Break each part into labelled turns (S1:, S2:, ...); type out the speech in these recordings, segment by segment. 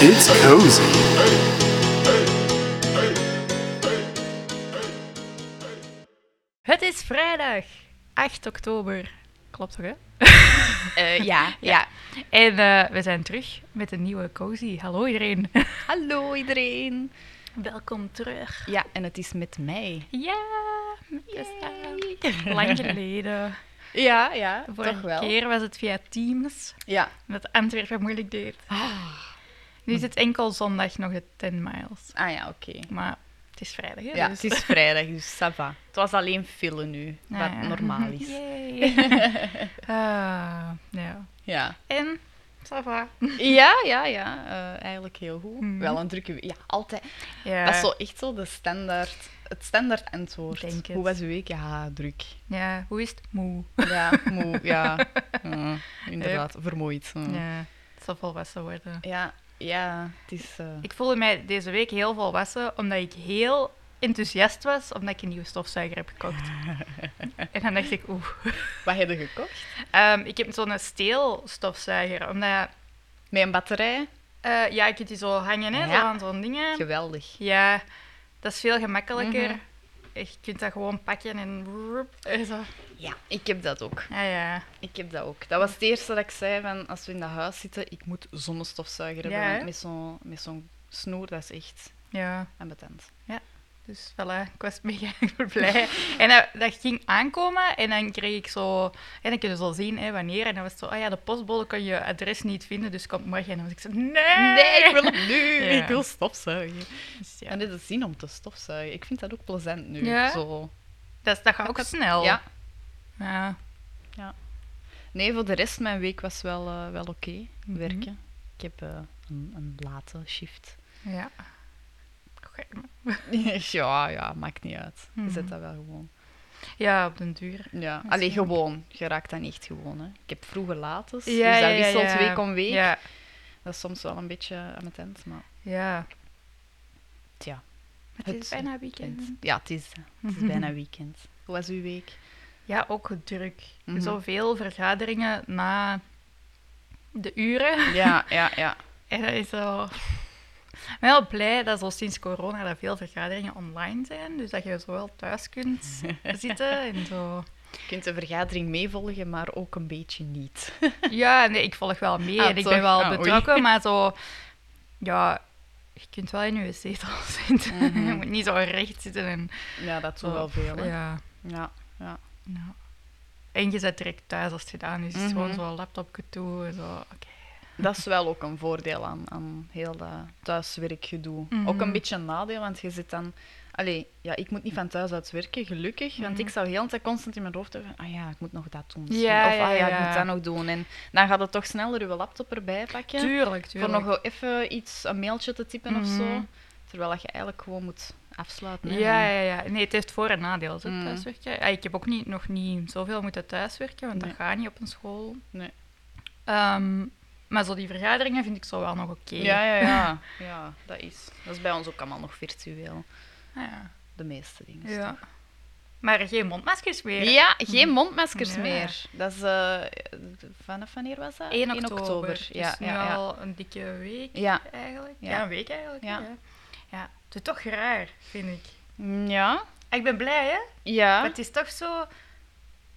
S1: It's cozy.
S2: Het is vrijdag, 8 oktober. Klopt toch, hè?
S3: Eh, ja, ja.
S2: En eh, we zijn terug met een nieuwe cozy. Hallo iedereen.
S3: Hallo iedereen.
S2: Welkom terug.
S3: Ja, en het is met mij.
S2: Ja,
S3: Yay.
S2: lang geleden.
S3: Ja, ja,
S2: De vorige keer was het via Teams,
S3: Ja.
S2: dat Antwerpen moeilijk deed. Nu is het enkel zondag nog de 10 miles.
S3: Ah ja, oké.
S2: Maar het is vrijdag, hè?
S3: Ja,
S2: dus-
S3: het is vrijdag, dus ça va. Het was alleen fillen nu, wat
S2: Ah, ja.
S3: normaal is.
S2: Yay. Ah, ja.
S3: Ja,
S2: En, ça va.
S3: ja, ja, ja eh, eigenlijk heel goed.
S2: Mhm.
S3: Wel een drukke week. Ja, altijd.
S2: Ja.
S3: Dat is zo echt zo de standaard, het standaard antwoord.
S2: Denk het.
S3: Hoe was uw week? Ja, druk.
S2: ja, hoe is het? Moe.
S3: Ja, moe, ja. Mm, inderdaad, vermoeid. mm. Ja.
S2: Ja, het zal volwassen worden.
S3: ja, het is... eh,
S2: Ik voelde mij deze week heel volwassen, omdat ik heel enthousiast was, omdat ik een nieuwe stofzuiger heb gekocht. en dan dacht ik, oeh.
S3: Wat heb je gekocht?
S2: Ehm, ik heb zo'n steelstofzuiger, omdat...
S3: Met een batterij?
S2: eh, ja, je kunt die zo hangen, hè,
S3: Ja.
S2: zo aan zo'n dingen.
S3: Geweldig.
S2: Ja, dat is veel gemakkelijker.
S3: Mhm.
S2: Je kunt dat gewoon pakken en... woep, en zo.
S3: Ja, ik heb dat ook.
S2: Ja, ja.
S3: Ik heb dat ook. Dat was het eerste dat ik zei van als we in dat huis zitten, ik moet zonnestofzuiger hebben.
S2: Ja, hè?
S3: want met zo'n met zo'n snoer, dat is echt
S2: Ja.
S3: ambetant.
S2: Dus voilà, ik was mega blij. En dat, dat ging aankomen en dan kreeg ik zo... En dan kun je zo zien hè, wanneer. En dan was het zo, ah ja, de postbode kan je adres niet vinden, dus kom morgen. En dan was ik zo, nee!
S3: Nee, ik wil het nu.
S2: Ja.
S3: Ik wil stofzuigen.
S2: Dus ja,
S3: En dit is zin om te stofzuigen. Ik vind dat ook plezant nu.
S2: Ja?
S3: Zo.
S2: dat, dat gaat ook snel.
S3: Ja.
S2: Ja.
S3: Nee, voor de rest, mijn week was wel, eh, wel oké.
S2: Mhm.
S3: Werken. Ik heb eh, een, een late shift.
S2: ja. Oké, maar-
S3: ja, ja, maakt niet uit. Je zet
S2: Mhm.
S3: dat wel gewoon.
S2: Ja, op den duur.
S3: Ja,
S2: is
S3: alleen
S2: wel-
S3: gewoon. Je raakt dat niet gewoon. Hè. Ik heb vroeger lates,
S2: Ja,
S3: dus dat
S2: ja, ja,
S3: wisselt
S2: ja.
S3: week om week.
S2: Ja.
S3: Dat is soms wel een beetje aan het eind, maar
S2: Ja.
S3: Tja.
S2: Maar Het,
S3: Het-
S2: is bijna weekend.
S3: ja, het is, het is bijna weekend. Hoe was uw week?
S2: Ja, ook druk.
S3: Mhm.
S2: Zoveel vergaderingen na de uren.
S3: Ja, ja, ja.
S2: En dat is zo... Ik ben wel blij dat zo sinds corona dat veel vergaderingen online zijn. Dus dat je zo wel thuis kunt zitten en zo.
S3: Je kunt de vergadering meevolgen, maar ook een beetje niet.
S2: Ja, nee, ik volg wel mee
S3: Ah,
S2: en ik
S3: toch?
S2: ben wel
S3: Ah, oei.
S2: betrokken, maar zo... Ja, je kunt wel in je zetel zitten. Je
S3: Mhm.
S2: moet niet zo recht zitten en...
S3: Ja, dat
S2: zo
S3: doet wel veel. hè.
S2: Ja,
S3: Oh, Ja,
S2: nou. En je zit direct thuis als het gedaan is.
S3: Mhm.
S2: Gewoon zo'n laptopje toe en zo. Oké.
S3: dat is wel ook een voordeel aan, aan heel dat thuiswerkgedoe.
S2: Mhm.
S3: Ook een beetje een nadeel, want je zit dan... Allee, ja, ik moet niet van thuis uit werken, gelukkig. Want
S2: Mhm.
S3: ik zou heel de tijd constant in mijn hoofd hebben... Ah ja, ik moet nog dat doen. misschien.
S2: Ja,
S3: of
S2: ja,
S3: ah ja, ik
S2: ja.
S3: moet dat nog doen. En dan gaat het toch sneller je laptop erbij pakken.
S2: Tuurlijk,
S3: Voor
S2: tuurlijk.
S3: nog wel even iets, een mailtje te typen of
S2: Mhm.
S3: zo. Terwijl dat je eigenlijk gewoon moet afsluiten. hè.
S2: Ja, ja, ja. Nee, het heeft voor- en nadeel, zo,
S3: Mm.
S2: thuiswerken. Ja, ik heb ook niet, nog niet zoveel moeten thuiswerken, want
S3: Nee.
S2: dat gaat niet op een school.
S3: Nee.
S2: Ehm, maar zo die vergaderingen vind ik zo wel nog oké.
S3: Ja, ja, ja. ja dat, is, dat is bij ons ook allemaal nog virtueel.
S2: Ah, ja.
S3: De meeste dingen.
S2: Ja. Maar geen mondmaskers meer.
S3: Dus Ja, geen mondmaskers
S2: Ja.
S3: meer. Dat is, eh, vanaf wanneer was dat?
S2: 1
S3: In
S2: oktober.
S3: Ja,
S2: dus nu
S3: ja, ja.
S2: al een dikke week
S3: Ja.
S2: eigenlijk. Ja,
S3: Ja.
S2: een week eigenlijk. Ja.
S3: Ja.
S2: ja. het is toch raar, vind ik.
S3: Ja.
S2: Ik ben blij, hè? Maar
S3: Ja.
S2: het is toch zo...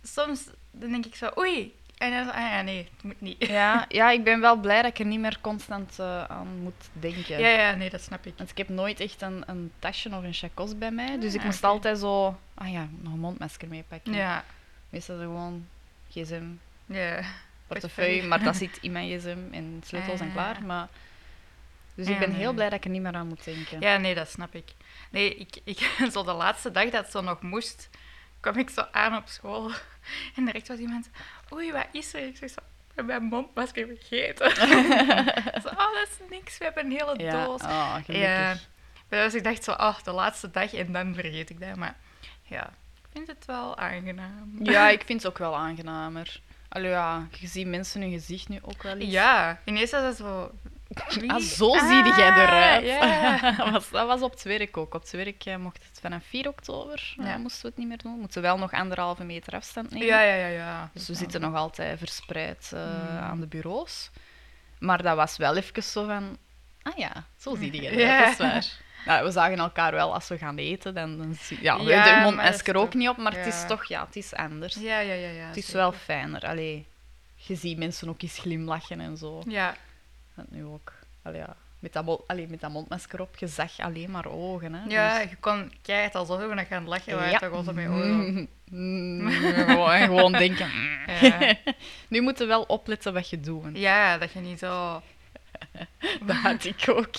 S2: Soms dan denk ik zo, oei. En dan zo, ah ja, nee, het moet niet.
S3: Ja, ja, ik ben wel blij dat ik er niet meer constant eh, aan moet denken.
S2: Ja, ja, nee, dat snap ik.
S3: Want ik heb nooit echt een, een tasje of een chacos bij mij. Dus
S2: Ah,
S3: ik moest
S2: oké.
S3: altijd zo... Ah ja, nog een mondmasker meepakken.
S2: Ja,
S3: Meestal gewoon gsm,
S2: ja.
S3: portefeuille,
S2: Portefeuille.
S3: maar dat zit in mijn gsm en sleutels en
S2: Ah.
S3: klaar. Maar... Dus
S2: Ja,
S3: ik ben
S2: nee.
S3: heel blij dat ik er niet meer aan moet denken.
S2: Ja, nee, dat snap ik. Nee, ik, ik zo de laatste dag dat het zo nog moest, kwam ik zo aan op school. En direct was iemand, oei, wat is er? Ik zeg zo, ik heb mijn mondmasker vergeten. zo, oh, dat is niks, we hebben een hele
S3: Ja,
S2: doos.
S3: Oh,
S2: Ja.
S3: gelukkig.
S2: Maar dus ik dacht zo, oh, de laatste dag en dan vergeet ik dat. Maar ja, ik vind het wel aangenaam.
S3: Ja. ik vind het ook wel aangenamer. Allee, ja, je ziet mensen hun gezicht nu ook wel eens.
S2: Ja, ineens was dat zo... wie-
S3: Ah, zo zie jij
S2: Ah,
S3: eruit.
S2: ja.
S3: Dat was- dat was op het werk ook. Op het werk eh, mocht het vanaf 4 oktober, eh,
S2: Ja.
S3: moesten we het niet meer doen. Moeten we wel nog anderhalve meter afstand nemen.
S2: Ja, ja, ja, ja.
S3: Dus we zitten nog altijd verspreid eh,
S2: Mm.
S3: aan de bureaus. Maar dat was wel even zo van... Ah ja, zo zie je dat.
S2: Ja.
S3: Dat is waar. Nou, we zagen elkaar wel als we gaan eten. Dan, dan zie- ja,
S2: Ja,
S3: de mond
S2: maar dat is
S3: masker ook
S2: toch-
S3: niet op, maar het is
S2: ja.
S3: toch ja, het is anders.
S2: Ja, ja, ja. ja
S3: het is
S2: zeker.
S3: wel fijner. Allee, je ziet mensen ook eens glimlachen en zo.
S2: Ja,
S3: Dat nu ook. Allee, ja. met, dat, mo- allee, met dat mondmasker op, je zag alleen maar ogen. Hè? Dus
S2: ja je kon keihard alsof we nog gaan lachen, maar toch altijd mee oren.
S3: Mm, gewoon, gewoon denken. mm.
S2: Ja.
S3: nu moeten we wel opletten wat je doet. want
S2: ja, dat je niet zo...
S3: Dat had ik ook.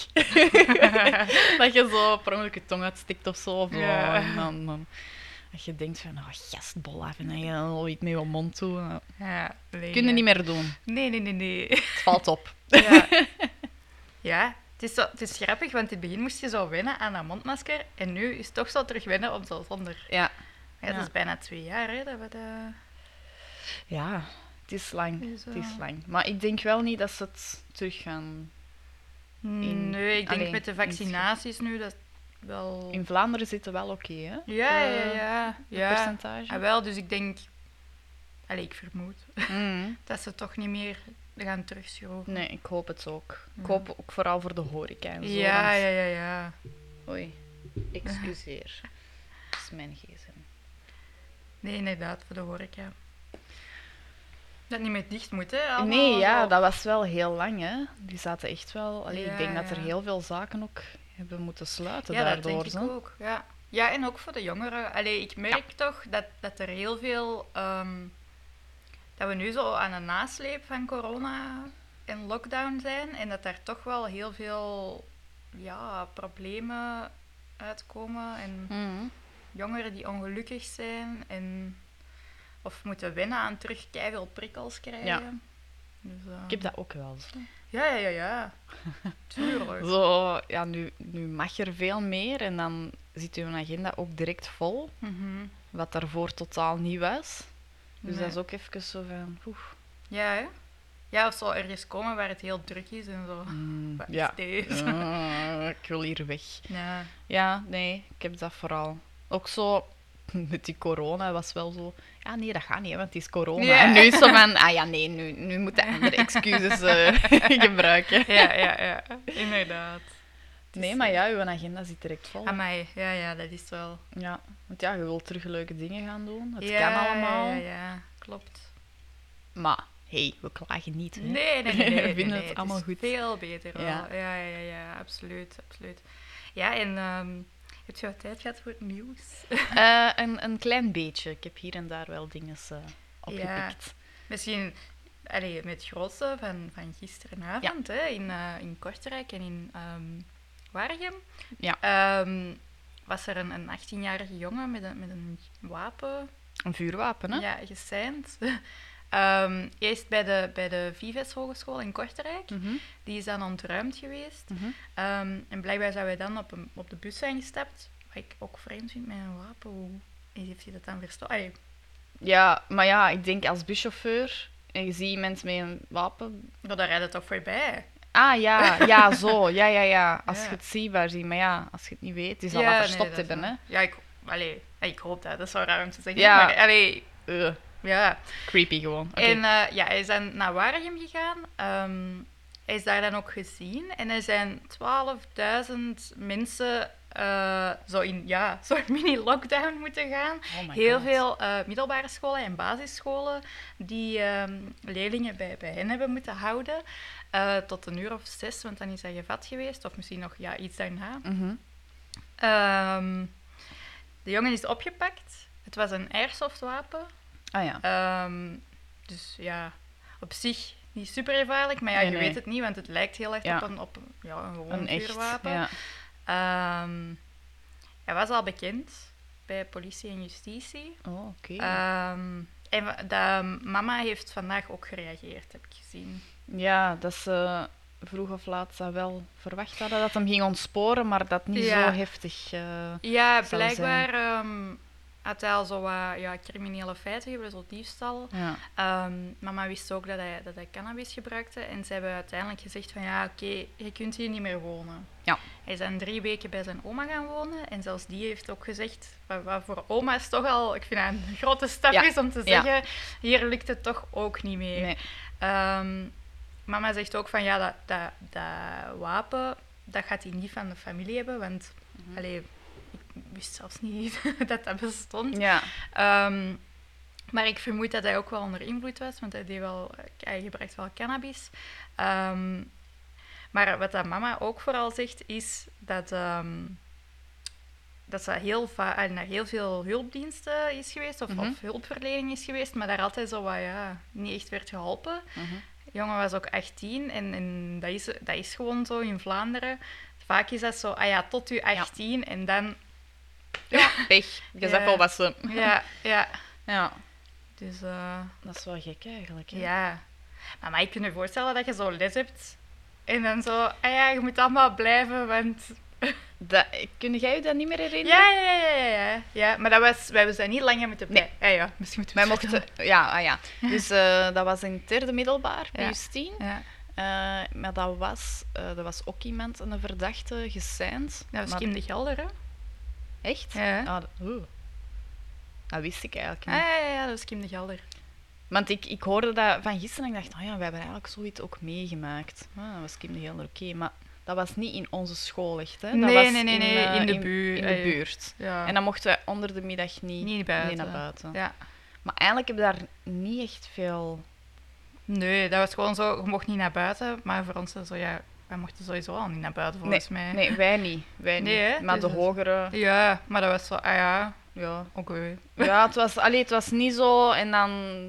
S3: dat je zo per ongeluk je tong uitstikt of zo. Of zo,
S2: Ja.
S3: En dan, dan- dat je denkt van, oh, gastbol even. En je al iets met je mond toe. Nou,
S2: Ja, nee,
S3: Kun je
S2: ja.
S3: niet meer doen.
S2: Nee, nee, nee, nee.
S3: Het valt op.
S2: Ja. ja. Het is, zo, het is grappig, want in het begin moest je zo wennen aan dat mondmasker. En nu is het toch zo terug wennen om zo zonder.
S3: Ja.
S2: Ja, dat
S3: Ja.
S2: is bijna twee jaar hè, dat we dat...
S3: Ja, het is lang.
S2: Is,
S3: Het is
S2: eh,
S3: lang. Maar ik denk wel niet dat ze het terug gaan... in-
S2: Mm, nee, ik denk
S3: allee,
S2: met de
S3: in-
S2: vaccinaties nu dat wel...
S3: In Vlaanderen zit het wel oké, hè?
S2: Ja,
S3: de-
S2: ja, ja.
S3: de
S2: ja.
S3: percentage.
S2: Ah, wel, dus ik denk... Allee, ik vermoed
S3: Mm.
S2: dat ze toch niet meer gaan terugschroeven.
S3: Nee, ik hoop het ook. Ik
S2: Ja.
S3: hoop ook vooral voor de horeca en zo.
S2: Ja,
S3: want-
S2: ja, ja, ja.
S3: Oei, excuseer. Dat is mijn gsm.
S2: Nee, inderdaad, voor de horeca. Dat niet meer dicht moet, hè? allemaal
S3: Nee, ja,
S2: zo.
S3: dat was wel heel lang, hè. Die zaten echt wel... Allee,
S2: Ja,
S3: ik denk dat er
S2: ja.
S3: heel veel zaken ook hebben moeten sluiten
S2: ja, dat
S3: daardoor.
S2: denk ik
S3: zo.
S2: ook. Ja. ja, en ook voor de jongeren. Allee, ik merk toch dat, dat er heel veel... ehm, dat we nu zo aan de nasleep van corona en lockdown zijn. En dat daar toch wel heel veel ja, problemen uitkomen. En
S3: Mhm.
S2: jongeren die ongelukkig zijn. En, of moeten wennen aan terug veel prikkels krijgen. Dus, eh,
S3: Ik heb dat ook wel. Zo,
S2: Ja, ja, ja, ja. Tuurlijk.
S3: zo ja, nu, nu mag je er veel meer en dan zit je agenda ook direct vol.
S2: Mhm.
S3: Wat daarvoor totaal niet was. Dus
S2: Nee.
S3: dat is ook even zo van... oef.
S2: Ja, hè? Ja, of zo ergens komen waar het heel druk is en zo.
S3: Mm,
S2: Wat
S3: ja.
S2: is deze?
S3: Ah, ik wil hier weg.
S2: Ja.
S3: Ja, nee, ik heb dat vooral. Ook zo met die corona was wel zo. Ja, nee, dat gaat niet, hè, want het is corona.
S2: Ja.
S3: En nu is zo van, ah ja, nee, nu, nu moet je andere excuses eh, gebruiken.
S2: ja, ja, ja. Inderdaad.
S3: Nee, maar ja, uw agenda zit direct vol.
S2: Amai, ja, ja, dat is wel...
S3: Ja, want ja, je wilt terug leuke dingen gaan doen. Het
S2: Ja,
S3: kan allemaal.
S2: Ja, ja, klopt.
S3: Maar hey, we klagen niet. Hè?
S2: Nee, nee, nee. nee,
S3: We
S2: nee,
S3: vinden
S2: nee,
S3: het allemaal
S2: is
S3: goed.
S2: veel beter wel.
S3: Ja.
S2: Ja, ja, ja, ja, absoluut, absoluut. Ja, en ehm heb je wat tijd gehad voor het nieuws?
S3: Eh, een, een klein beetje. Ik heb hier en daar wel dingen eh, opgepikt.
S2: Misschien allee, met het grootste van, van gisterenavond hè, in, eh, in Kortrijk en in ehm Waregem.
S3: Ja.
S2: Ehm, was er een, een 18-jarige jongen met een, met een wapen
S3: Een vuurwapen, hè?
S2: ja, geseind. Ehm, eerst bij de, bij de Vives Hogeschool in Kortrijk.
S3: Mhm,
S2: Die is dan ontruimd geweest.
S3: mhm.
S2: Ehm, en blijkbaar zou hij dan op, een, op de bus zijn gestapt. Wat ik ook vreemd vind met een wapen. Hoe heeft hij dat dan verstopt? Allee,
S3: Ja, maar ja, ik denk als buschauffeur en je ziet mensen met een wapen.
S2: maar daar rijdt het toch voorbij?
S3: Ah ja, ja, zo. Ja, ja, ja. Als
S2: Ja.
S3: je het zichtbaar ziet, maar ja, als je het niet weet, die zal
S2: Ja,
S3: dat
S2: nee,
S3: verstopt
S2: dat is
S3: hebben, hè?
S2: waar. Ja, ik, allee, ik hoop dat. Dat zou raar om te zeggen.
S3: Ja.
S2: Maar, allee,
S3: Eh,
S2: ja.
S3: creepy gewoon. Oké.
S2: En eh, ja, hij is dan naar Waregem gegaan. Ehm, hij is daar dan ook gezien. En er zijn 12.000 mensen eh, zo in ja, zo'n mini-lockdown moeten gaan.
S3: Oh my
S2: Heel
S3: God.
S2: veel eh, middelbare scholen en basisscholen die ehm, leerlingen bij, bij hen hebben moeten houden. eh, tot een uur of zes, want dan is hij gevat geweest. Of misschien nog ja, iets daarna.
S3: Mhm.
S2: Ehm, de jongen is opgepakt. Het was een airsoftwapen.
S3: Ah ja.
S2: Ehm, dus ja, op zich niet super gevaarlijk, maar ja,
S3: Nee,
S2: je
S3: nee.
S2: weet het niet, want het lijkt heel erg
S3: Ja.
S2: op een, op een, ja, een gewoon
S3: Een echt.
S2: vuurwapen.
S3: Ja.
S2: Ehm, hij was al bekend bij politie en justitie.
S3: Oh, oké.
S2: Ehm, en wa- de mama heeft vandaag ook gereageerd, heb ik gezien.
S3: ja, dat ze vroeg of laat dat wel verwacht hadden dat hem ging ontsporen, maar dat niet
S2: Ja.
S3: zo heftig. eh,
S2: Ja,
S3: Zou
S2: blijkbaar ehm had hij al zo wat ja, criminele feiten gebeurd, zo diefstal.
S3: ja.
S2: Ehm, mama wist ook dat hij, dat hij cannabis gebruikte. En ze hebben uiteindelijk gezegd van ja, oké, je kunt hier niet meer wonen.
S3: Ja.
S2: Hij is dan drie weken bij zijn oma gaan wonen. En zelfs die heeft ook gezegd, wa- wat voor oma is toch al, ik vind dat een grote stap
S3: Ja,
S2: is om te
S3: ja.
S2: zeggen, hier lukt het toch ook niet meer.
S3: Nee.
S2: Ehm, mama zegt ook van ja, dat, dat, dat wapen, dat gaat hij niet van de familie hebben, want
S3: Mhm.
S2: allee, ik wist zelfs niet dat dat bestond.
S3: Ja.
S2: Ehm, maar ik vermoed dat hij ook wel onder invloed was, want hij, deed wel, hij gebruikt wel cannabis. Ehm, maar wat dat mama ook vooral zegt, is dat, ehm, dat ze heel va- eh, naar heel veel hulpdiensten is geweest, of,
S3: Mhm.
S2: of hulpverlening is geweest, maar daar altijd zo wat, ja, niet echt werd geholpen.
S3: Mhm.
S2: De jongen was ook 18 en, en dat, is, dat is gewoon zo in Vlaanderen. Vaak is dat zo, ah ja, tot u 18 en dan...
S3: ja. Pech. Je zegt
S2: Ja.
S3: wel wat ze...
S2: Ja, ja.
S3: Ja.
S2: Dus... eh,
S3: Dat is wel gek eigenlijk. hè?
S2: Ja. Maar, maar ik kan me voorstellen dat je zo les hebt en dan zo, ah ja, je moet allemaal blijven, want...
S3: Dat, kun jij je dat niet meer herinneren?
S2: Ja, ja, ja, ja, ja. ja maar dat was, wij zijn niet langer moeten blijven. Ah ja, misschien moeten we
S3: Wij mochten... Ja, ah ja. Dus eh, dat was in het derde middelbaar, bij
S2: Ja.
S3: Justine.
S2: Ja,
S3: Eh, maar dat was, eh er was ook iemand, een verdachte, geseind.
S2: dat was
S3: Maar-
S2: Kim de Gelder, hè?
S3: Echt?
S2: Ja.
S3: Ah, dat, oeh. dat wist ik eigenlijk niet.
S2: Ah, ja, ja, ja, dat was Kim de Gelder.
S3: Want ik, ik hoorde dat van gisteren en ik dacht, oh ja, we hebben eigenlijk zoiets ook meegemaakt. Ah, dat was Kim de Gelder, oké. Maar dat was niet in onze school echt, hè. Dat
S2: Nee,
S3: was
S2: nee, nee, nee,
S3: eh,
S2: in de buurt,
S3: In de
S2: eh,
S3: buurt.
S2: Ja.
S3: En dan mochten wij onder de middag niet,
S2: Niet buiten.
S3: naar buiten.
S2: ja.
S3: Maar eigenlijk heb ik daar niet echt veel...
S2: Nee, dat was gewoon zo, je mocht niet naar buiten, maar voor ons is zo, ja, wij mochten sowieso al niet naar buiten, volgens mij.
S3: Nee, wij niet. Wij niet.
S2: Nee, hè?
S3: maar
S2: Dus
S3: de
S2: dat-
S3: hogere...
S2: Ja, maar dat was zo, ah ja,
S3: Ja,
S2: oké.
S3: ja het, was, allee, het was niet zo. En dan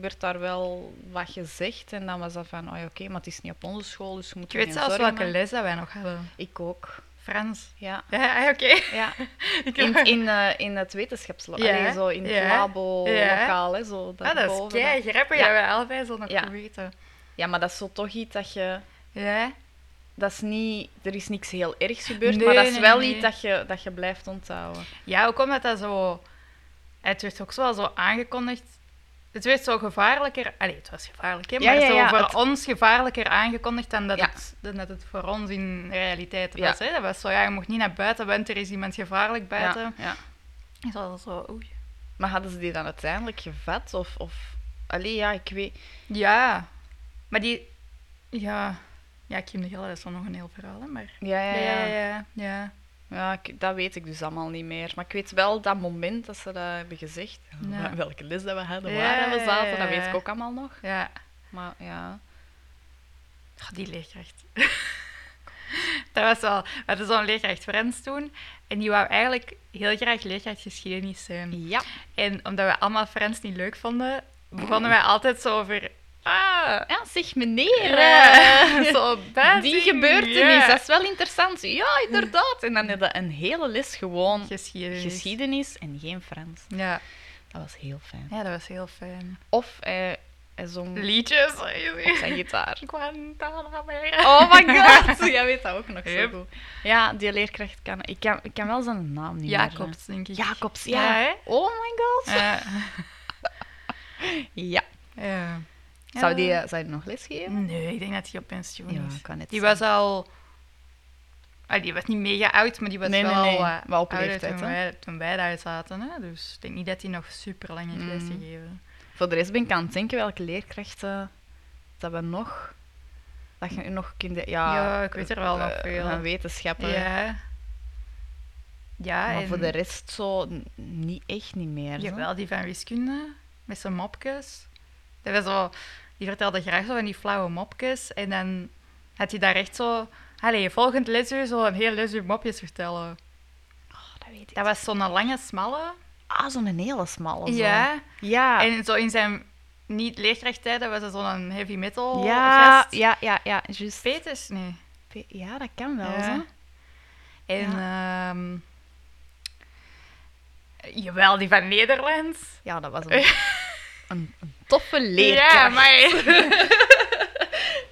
S3: werd daar wel wat gezegd. En dan was dat van, oh ja, oké, maar het is niet op onze school, dus je moet
S2: Ik
S3: je
S2: weet
S3: geen
S2: zelfs
S3: zorgen
S2: welke
S3: maken.
S2: les dat wij nog hadden.
S3: Ik ook.
S2: Frans.
S3: Ja.
S2: Ja, ah, oké.
S3: ja.
S2: Ik-
S3: In, in, eh, in het wetenschapslokaal.
S2: Ja,
S3: Allee, zo in het
S2: ja,
S3: labo-lokaal. hè, Zo,
S2: Ah, dat
S3: daarboven,
S2: is kei
S3: dat-
S2: grappig
S3: Ja.
S2: dat wij allebei zo nog
S3: Ja.
S2: weten.
S3: Ja, maar dat is zo toch iets dat je...
S2: Ja,
S3: Dat is niet... Er is niks heel ergs gebeurd,
S2: Nee,
S3: maar dat is
S2: nee,
S3: wel
S2: nee,
S3: iets
S2: nee.
S3: dat je, dat je blijft onthouden.
S2: ja ook omdat dat zo... Het werd ook zo wel zo aangekondigd. Het werd zo gevaarlijker... Allee, het was gevaarlijk, hè?
S3: Ja,
S2: Maar
S3: ja, ja,
S2: zo voor
S3: het-
S2: ons gevaarlijker aangekondigd dan dat,
S3: Ja.
S2: het, dan dat het voor ons in realiteit
S3: Ja.
S2: was. Hè? Dat was zo, ja, je mocht niet naar buiten, want er is iemand gevaarlijk buiten.
S3: Ja, ja.
S2: Ik was zo, oei.
S3: Maar hadden ze die dan uiteindelijk gevat? Of... of... Allee, ja, ik weet...
S2: Ja. Maar die... Ja... Ja, Kim de Gelder dat is dan nog een heel verhaal, hè? Maar...
S3: ja, ja. ja.
S2: ja. ja.
S3: Ja, ik- dat weet ik dus allemaal niet meer. Maar ik weet wel dat moment dat ze dat hebben gezegd.
S2: Ja.
S3: Welke les dat we hadden,
S2: Ja,
S3: waar dat we
S2: ja,
S3: zaten,
S2: ja,
S3: dat weet
S2: ja.
S3: ik ook allemaal nog.
S2: ja.
S3: Maar ja.
S2: Ah, die leerkracht. dat was wel... We hadden zo'n leerkracht Frans toen. En die wou eigenlijk heel graag leerkracht geschiedenis zijn.
S3: Ja.
S2: En omdat we allemaal Frans niet leuk vonden, begonnen wij altijd zo over... Ah,
S3: Ja, zeg meneer.
S2: eh,
S3: eh,
S2: zo dat
S3: die
S2: ding,
S3: gebeurtenis,
S2: ja.
S3: dat is wel interessant. Ja, inderdaad. En dan hadden we een hele les gewoon
S2: Geschiedenis.
S3: geschiedenis en geen Frans.
S2: Ja.
S3: Dat was heel fijn.
S2: ja, dat was heel fijn.
S3: Of eh, hij zong
S2: Liedjes.
S3: op zijn gitaar.
S2: Guantanamera.
S3: Oh my god, jij weet dat ook nog zo
S2: Yep.
S3: goed. Ja, die leerkracht kan... Ik kan, ik kan wel zijn naam niet meer... eh.
S2: Jacobs, denk ik.
S3: Jacobs,
S2: Ja,
S3: ja.
S2: hè?
S3: oh my god.
S2: Ja.
S3: Ja.
S2: ja.
S3: Zou, die, eh, zou die nog lesgeven?
S2: Nee, ik denk dat hij op pensioen
S3: Ja,
S2: is.
S3: ik kan het
S2: die
S3: zeggen.
S2: was al... Ah, die was niet mega oud, maar die was
S3: Nee, nee,
S2: wel
S3: nee.
S2: eh,
S3: Wel op
S2: ouder
S3: leeftijd,
S2: toen
S3: hè?
S2: wij, toen wij daar zaten. Hè? Dus ik denk niet dat hij nog super lang
S3: Mm.
S2: heeft lesgegeven.
S3: Voor de rest ben ik aan het denken welke leerkrachten dat we nog... Dat je nog kinderen... Ja,
S2: Ja, ik weet er wel
S3: eh,
S2: nog veel.
S3: Van wetenschappen.
S2: Ja. Ja,
S3: Maar
S2: en...
S3: voor de rest zo n- niet echt niet meer. zo.
S2: Jawel, die van wiskunde, met zijn mopjes. Dat was zo, die vertelde graag zo van die flauwe mopjes. En dan had hij daar echt zo... Allee, volgend lesuur zo een heel lesuur mopjes vertellen.
S3: Oh, dat weet ik.
S2: Dat was zo'n lange, smalle.
S3: Ah, zo'n hele smalle. zo.
S2: Ja.
S3: Ja.
S2: En zo in zijn niet-leerkrachttijd, dat was dat zo'n heavy metal
S3: ja,
S2: Oh, gast.
S3: ja, ja, ja, juist.
S2: Peters? Nee.
S3: Pe- Ja, dat kan wel.
S2: Ja.
S3: Zo.
S2: En... ehm, Jawel, die van Nederlands.
S3: ja, dat was een, een, een toffe leerkracht.
S2: Ja, maar...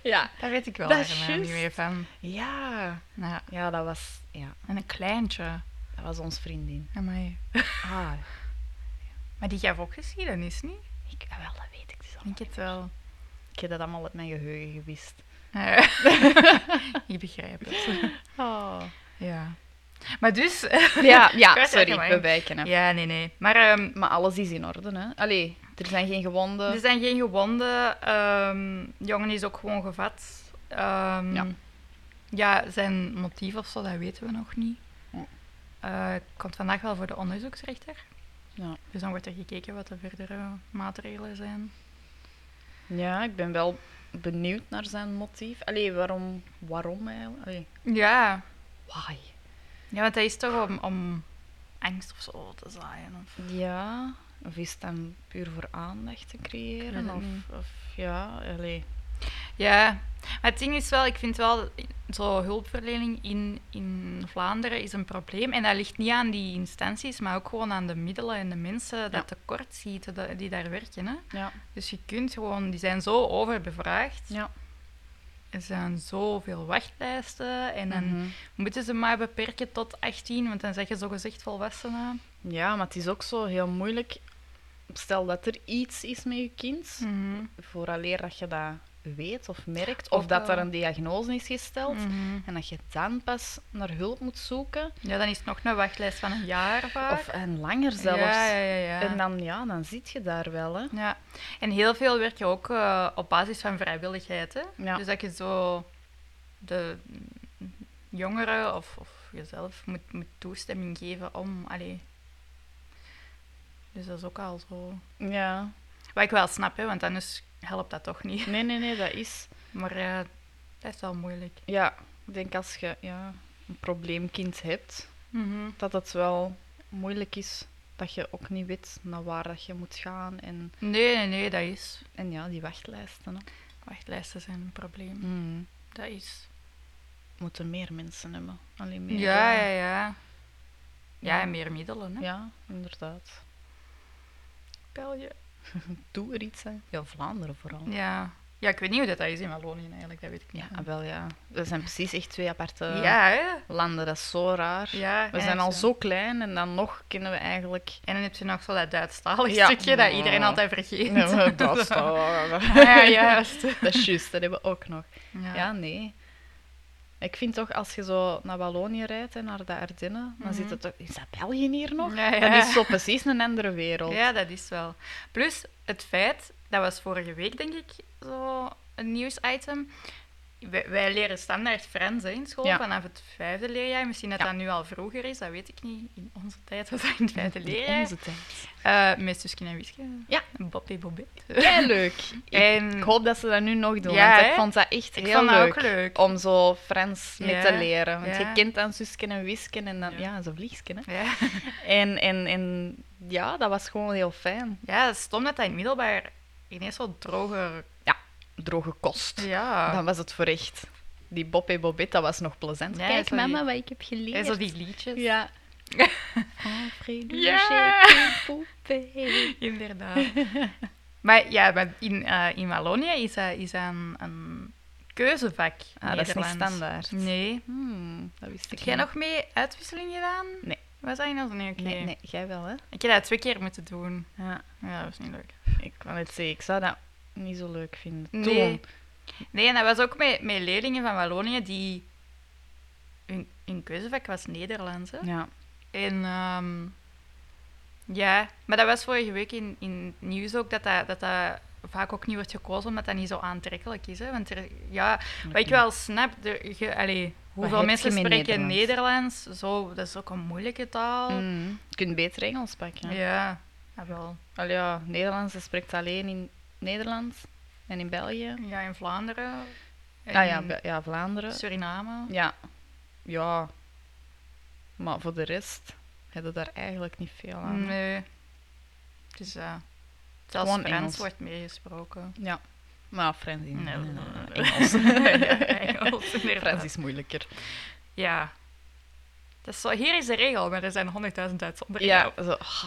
S3: ja.
S2: Daar weet ik wel
S3: Dat is
S2: haar naam niet
S3: juist.
S2: meer van.
S3: Ja.
S2: Nou Ja.
S3: Ja, dat was, ja,
S2: En een kleintje.
S3: dat was ons vriendin.
S2: Amai.
S3: Ah,
S2: Maar die gaf ook geschiedenis, niet?
S3: ik, ah, wel, dat weet ik dus al.
S2: Ik denk het wel.
S3: Ik heb dat allemaal uit mijn geheugen gewist.
S2: Eh, ik begrijp het.
S3: Oh.
S2: Ja. Maar dus...
S3: Ja, ja
S2: Kwijt,
S3: sorry,
S2: ja, maar-
S3: we wijken af.
S2: Ja, nee, nee. Maar ehm,
S3: Maar alles is in orde, hè. Allee, er Er zijn geen gewonden.
S2: Er zijn geen gewonden. ehm, de jongen is ook gewoon gevat. Ehm,
S3: Ja.
S2: ja. zijn motief of zo, dat weten we nog niet.
S3: Nee.
S2: Eh, het komt vandaag wel voor de onderzoeksrechter.
S3: Ja.
S2: Dus dan wordt er gekeken wat de verdere maatregelen zijn.
S3: ja, ik ben wel benieuwd naar zijn motief. Allee, waarom, waarom eigenlijk? Allee,
S2: Ja,
S3: why?
S2: ja want hij is toch om, om angst of zo te zaaien. Of...
S3: Ja, of is het dan puur voor aandacht te
S2: Ik weet
S3: creëren?
S2: het
S3: Of,
S2: niet.
S3: of ja, allee.
S2: Ja, maar het ding is wel, ik vind wel, zo hulpverlening in, in Vlaanderen is een probleem. En dat ligt niet aan die instanties, maar ook gewoon aan de middelen en de mensen dat tekort ziet dat- die daar werken. Hè.
S3: Ja,
S2: Dus je kunt gewoon, die zijn zo overbevraagd.
S3: ja.
S2: Er zijn zoveel wachtlijsten en dan
S3: Mhm.
S2: moeten ze maar beperken tot 18, want dan zijn je zogezegd volwassenen.
S3: ja, maar het is ook zo heel moeilijk. Stel dat er iets is met je kind, vooraleer dat je dat weet of merkt, of Mm.
S2: Ook
S3: dat
S2: wel.
S3: er een diagnose is gesteld,
S2: Mhm.
S3: en dat je dan pas naar hulp moet zoeken,
S2: Ja, dan is het nog een wachtlijst van een jaar vaak.
S3: of en langer zelfs.
S2: Ja, ja, ja. ja.
S3: En dan, ja, dan zit je daar wel, hè.
S2: Ja, en heel veel werk je ook eh, op basis van vrijwilligheid. Hè?
S3: Ja.
S2: Dus dat je zo de jongeren of, of jezelf moet, moet toestemming geven om. Allee. Dus dat is ook al zo.
S3: Ja.
S2: Wat ik wel snap, hè, want anders helpt dat toch niet.
S3: Nee, nee, nee, dat is...
S2: Maar eh dat is wel moeilijk.
S3: Ja, ik denk als je ja, een probleemkind hebt,
S2: Mhm.
S3: dat het wel moeilijk is dat je ook niet weet naar waar dat je moet gaan. En,
S2: Nee, nee, nee, dat is.
S3: en ja, die wachtlijsten. Hè.
S2: Wachtlijsten zijn een probleem.
S3: Mm.
S2: Dat is.
S3: Moeten meer mensen hebben. Alleen meer.
S2: Ja, ja,
S3: eh,
S2: ja. Ja, en meer middelen. Hè?
S3: ja, inderdaad.
S2: België.
S3: Doe er iets aan. Ja, Vlaanderen vooral.
S2: Ja. ja, ik weet niet hoe dat is in Wallonië eigenlijk, dat weet ik niet.
S3: Ja, ah, wel ja. Dat zijn precies echt twee aparte
S2: Ja, hè?
S3: landen. Dat is zo raar.
S2: Ja,
S3: We zijn al
S2: echt, hè.
S3: zo klein en dan nog kunnen we eigenlijk...
S2: En dan heb je nog zo dat Duitsstalig
S3: Ja.
S2: stukje dat iedereen
S3: Ja.
S2: altijd vergeet.
S3: dat,
S2: Zo.
S3: ja,
S2: Ja, juist.
S3: dat is juist, dat hebben we ook nog.
S2: Ja.
S3: Ja, nee. Ik vind toch, als je zo naar Wallonië rijdt en naar de Ardennen, dan zit het toch... Is dat België hier nog?
S2: Mhm. Ja, ja.
S3: Dat is zo precies een andere wereld.
S2: Ja, dat is wel. Plus het feit, dat was vorige week denk ik zo een nieuwsitem. Wij, wij leren standaard Frans hè, in school
S3: Ja.
S2: vanaf het vijfde leerjaar. Misschien dat
S3: Ja.
S2: dat nu al vroeger is, dat weet ik niet. In onze tijd was dat in het vijfde
S3: In
S2: leerjaar.
S3: Onze tijd.
S2: Eh met Suske en Wiske.
S3: Ja.
S2: Bobby Bobby.
S3: Heel leuk. Ik,
S2: En
S3: ik hoop dat ze dat nu nog doen,
S2: Mm. Ja,
S3: want ik
S2: hè?
S3: vond dat echt
S2: ik
S3: heel
S2: vond dat
S3: leuk.
S2: ook leuk.
S3: Om zo Frans mee
S2: Ja,
S3: te leren. Want je
S2: ja.
S3: kent dan Susken en Wisken en dan... Ja,
S2: Ja.
S3: zo vliegsken, hè.
S2: Ja.
S3: En, en, en ja, dat was gewoon heel fijn.
S2: Ja, het is stom dat hij in het middelbaar ineens zo droger...
S3: Droge kost.
S2: Ja.
S3: Dan was het voor echt. Die Boppe Bobet, dat was nog plezant.
S2: Ja,
S3: Kijk,
S2: zo
S3: mama,
S2: die-
S3: wat ik heb geleerd.
S2: en zo die liedjes.
S3: Ja. oh, vrede,
S2: Ja.
S3: poepé.
S2: Inderdaad. maar ja, maar in, eh, in Wallonië is dat, is dat een, een keuzevak.
S3: Ah, dat is niet
S2: Nederlands.
S3: standaard.
S2: Nee.
S3: Hmm, dat wist ik
S2: Heb jij nog mee uitwisseling gedaan?
S3: Nee.
S2: Was dat in ons? Nee, oké.
S3: Nee, nee, jij wel, hè?
S2: Ik heb dat twee keer moeten doen.
S3: Ja,
S2: Ja, dat was niet leuk.
S3: ik kan het zeggen. Ik zou dat niet zo leuk vinden.
S2: Nee.
S3: Toen.
S2: Nee, en dat was ook met, met leerlingen van Wallonië die... Hun, hun keuzevak was Nederlands, hè?
S3: Ja.
S2: En ehm, ja, maar dat was vorige week in, in het nieuws ook, dat dat, dat dat vaak ook niet wordt gekozen omdat dat niet zo aantrekkelijk is. Hè? Want er, ja, wat ik wel snap, de, je, allee, hoeveel
S3: heb
S2: mensen
S3: je met
S2: spreken Nederlands?
S3: Nederlands?
S2: zo, dat is ook een moeilijke taal.
S3: Mm, je kunt beter Engels pakken.
S2: Ja,
S3: hè.
S2: dat wel.
S3: Al ja, Nederlands, dat spreekt alleen in Nederland en in België.
S2: Ja, in Vlaanderen. en
S3: Ah ja, Be- ja Vlaanderen.
S2: Suriname.
S3: Ja. Ja. Maar voor de rest hebben daar eigenlijk niet veel aan. hè.
S2: Nee. Dus ja, zelfs
S3: Gewoon
S2: Frans
S3: Engels.
S2: wordt meegesproken.
S3: Ja. Maar Frans in
S2: Nee, nee, nee.
S3: Engels.
S2: Ja, Engels,
S3: Frans
S2: inderdaad.
S3: is moeilijker.
S2: Ja. Dat is zo, hier is de regel, maar er zijn 100.000 uitzonderingen.
S3: Ja, zo, ah,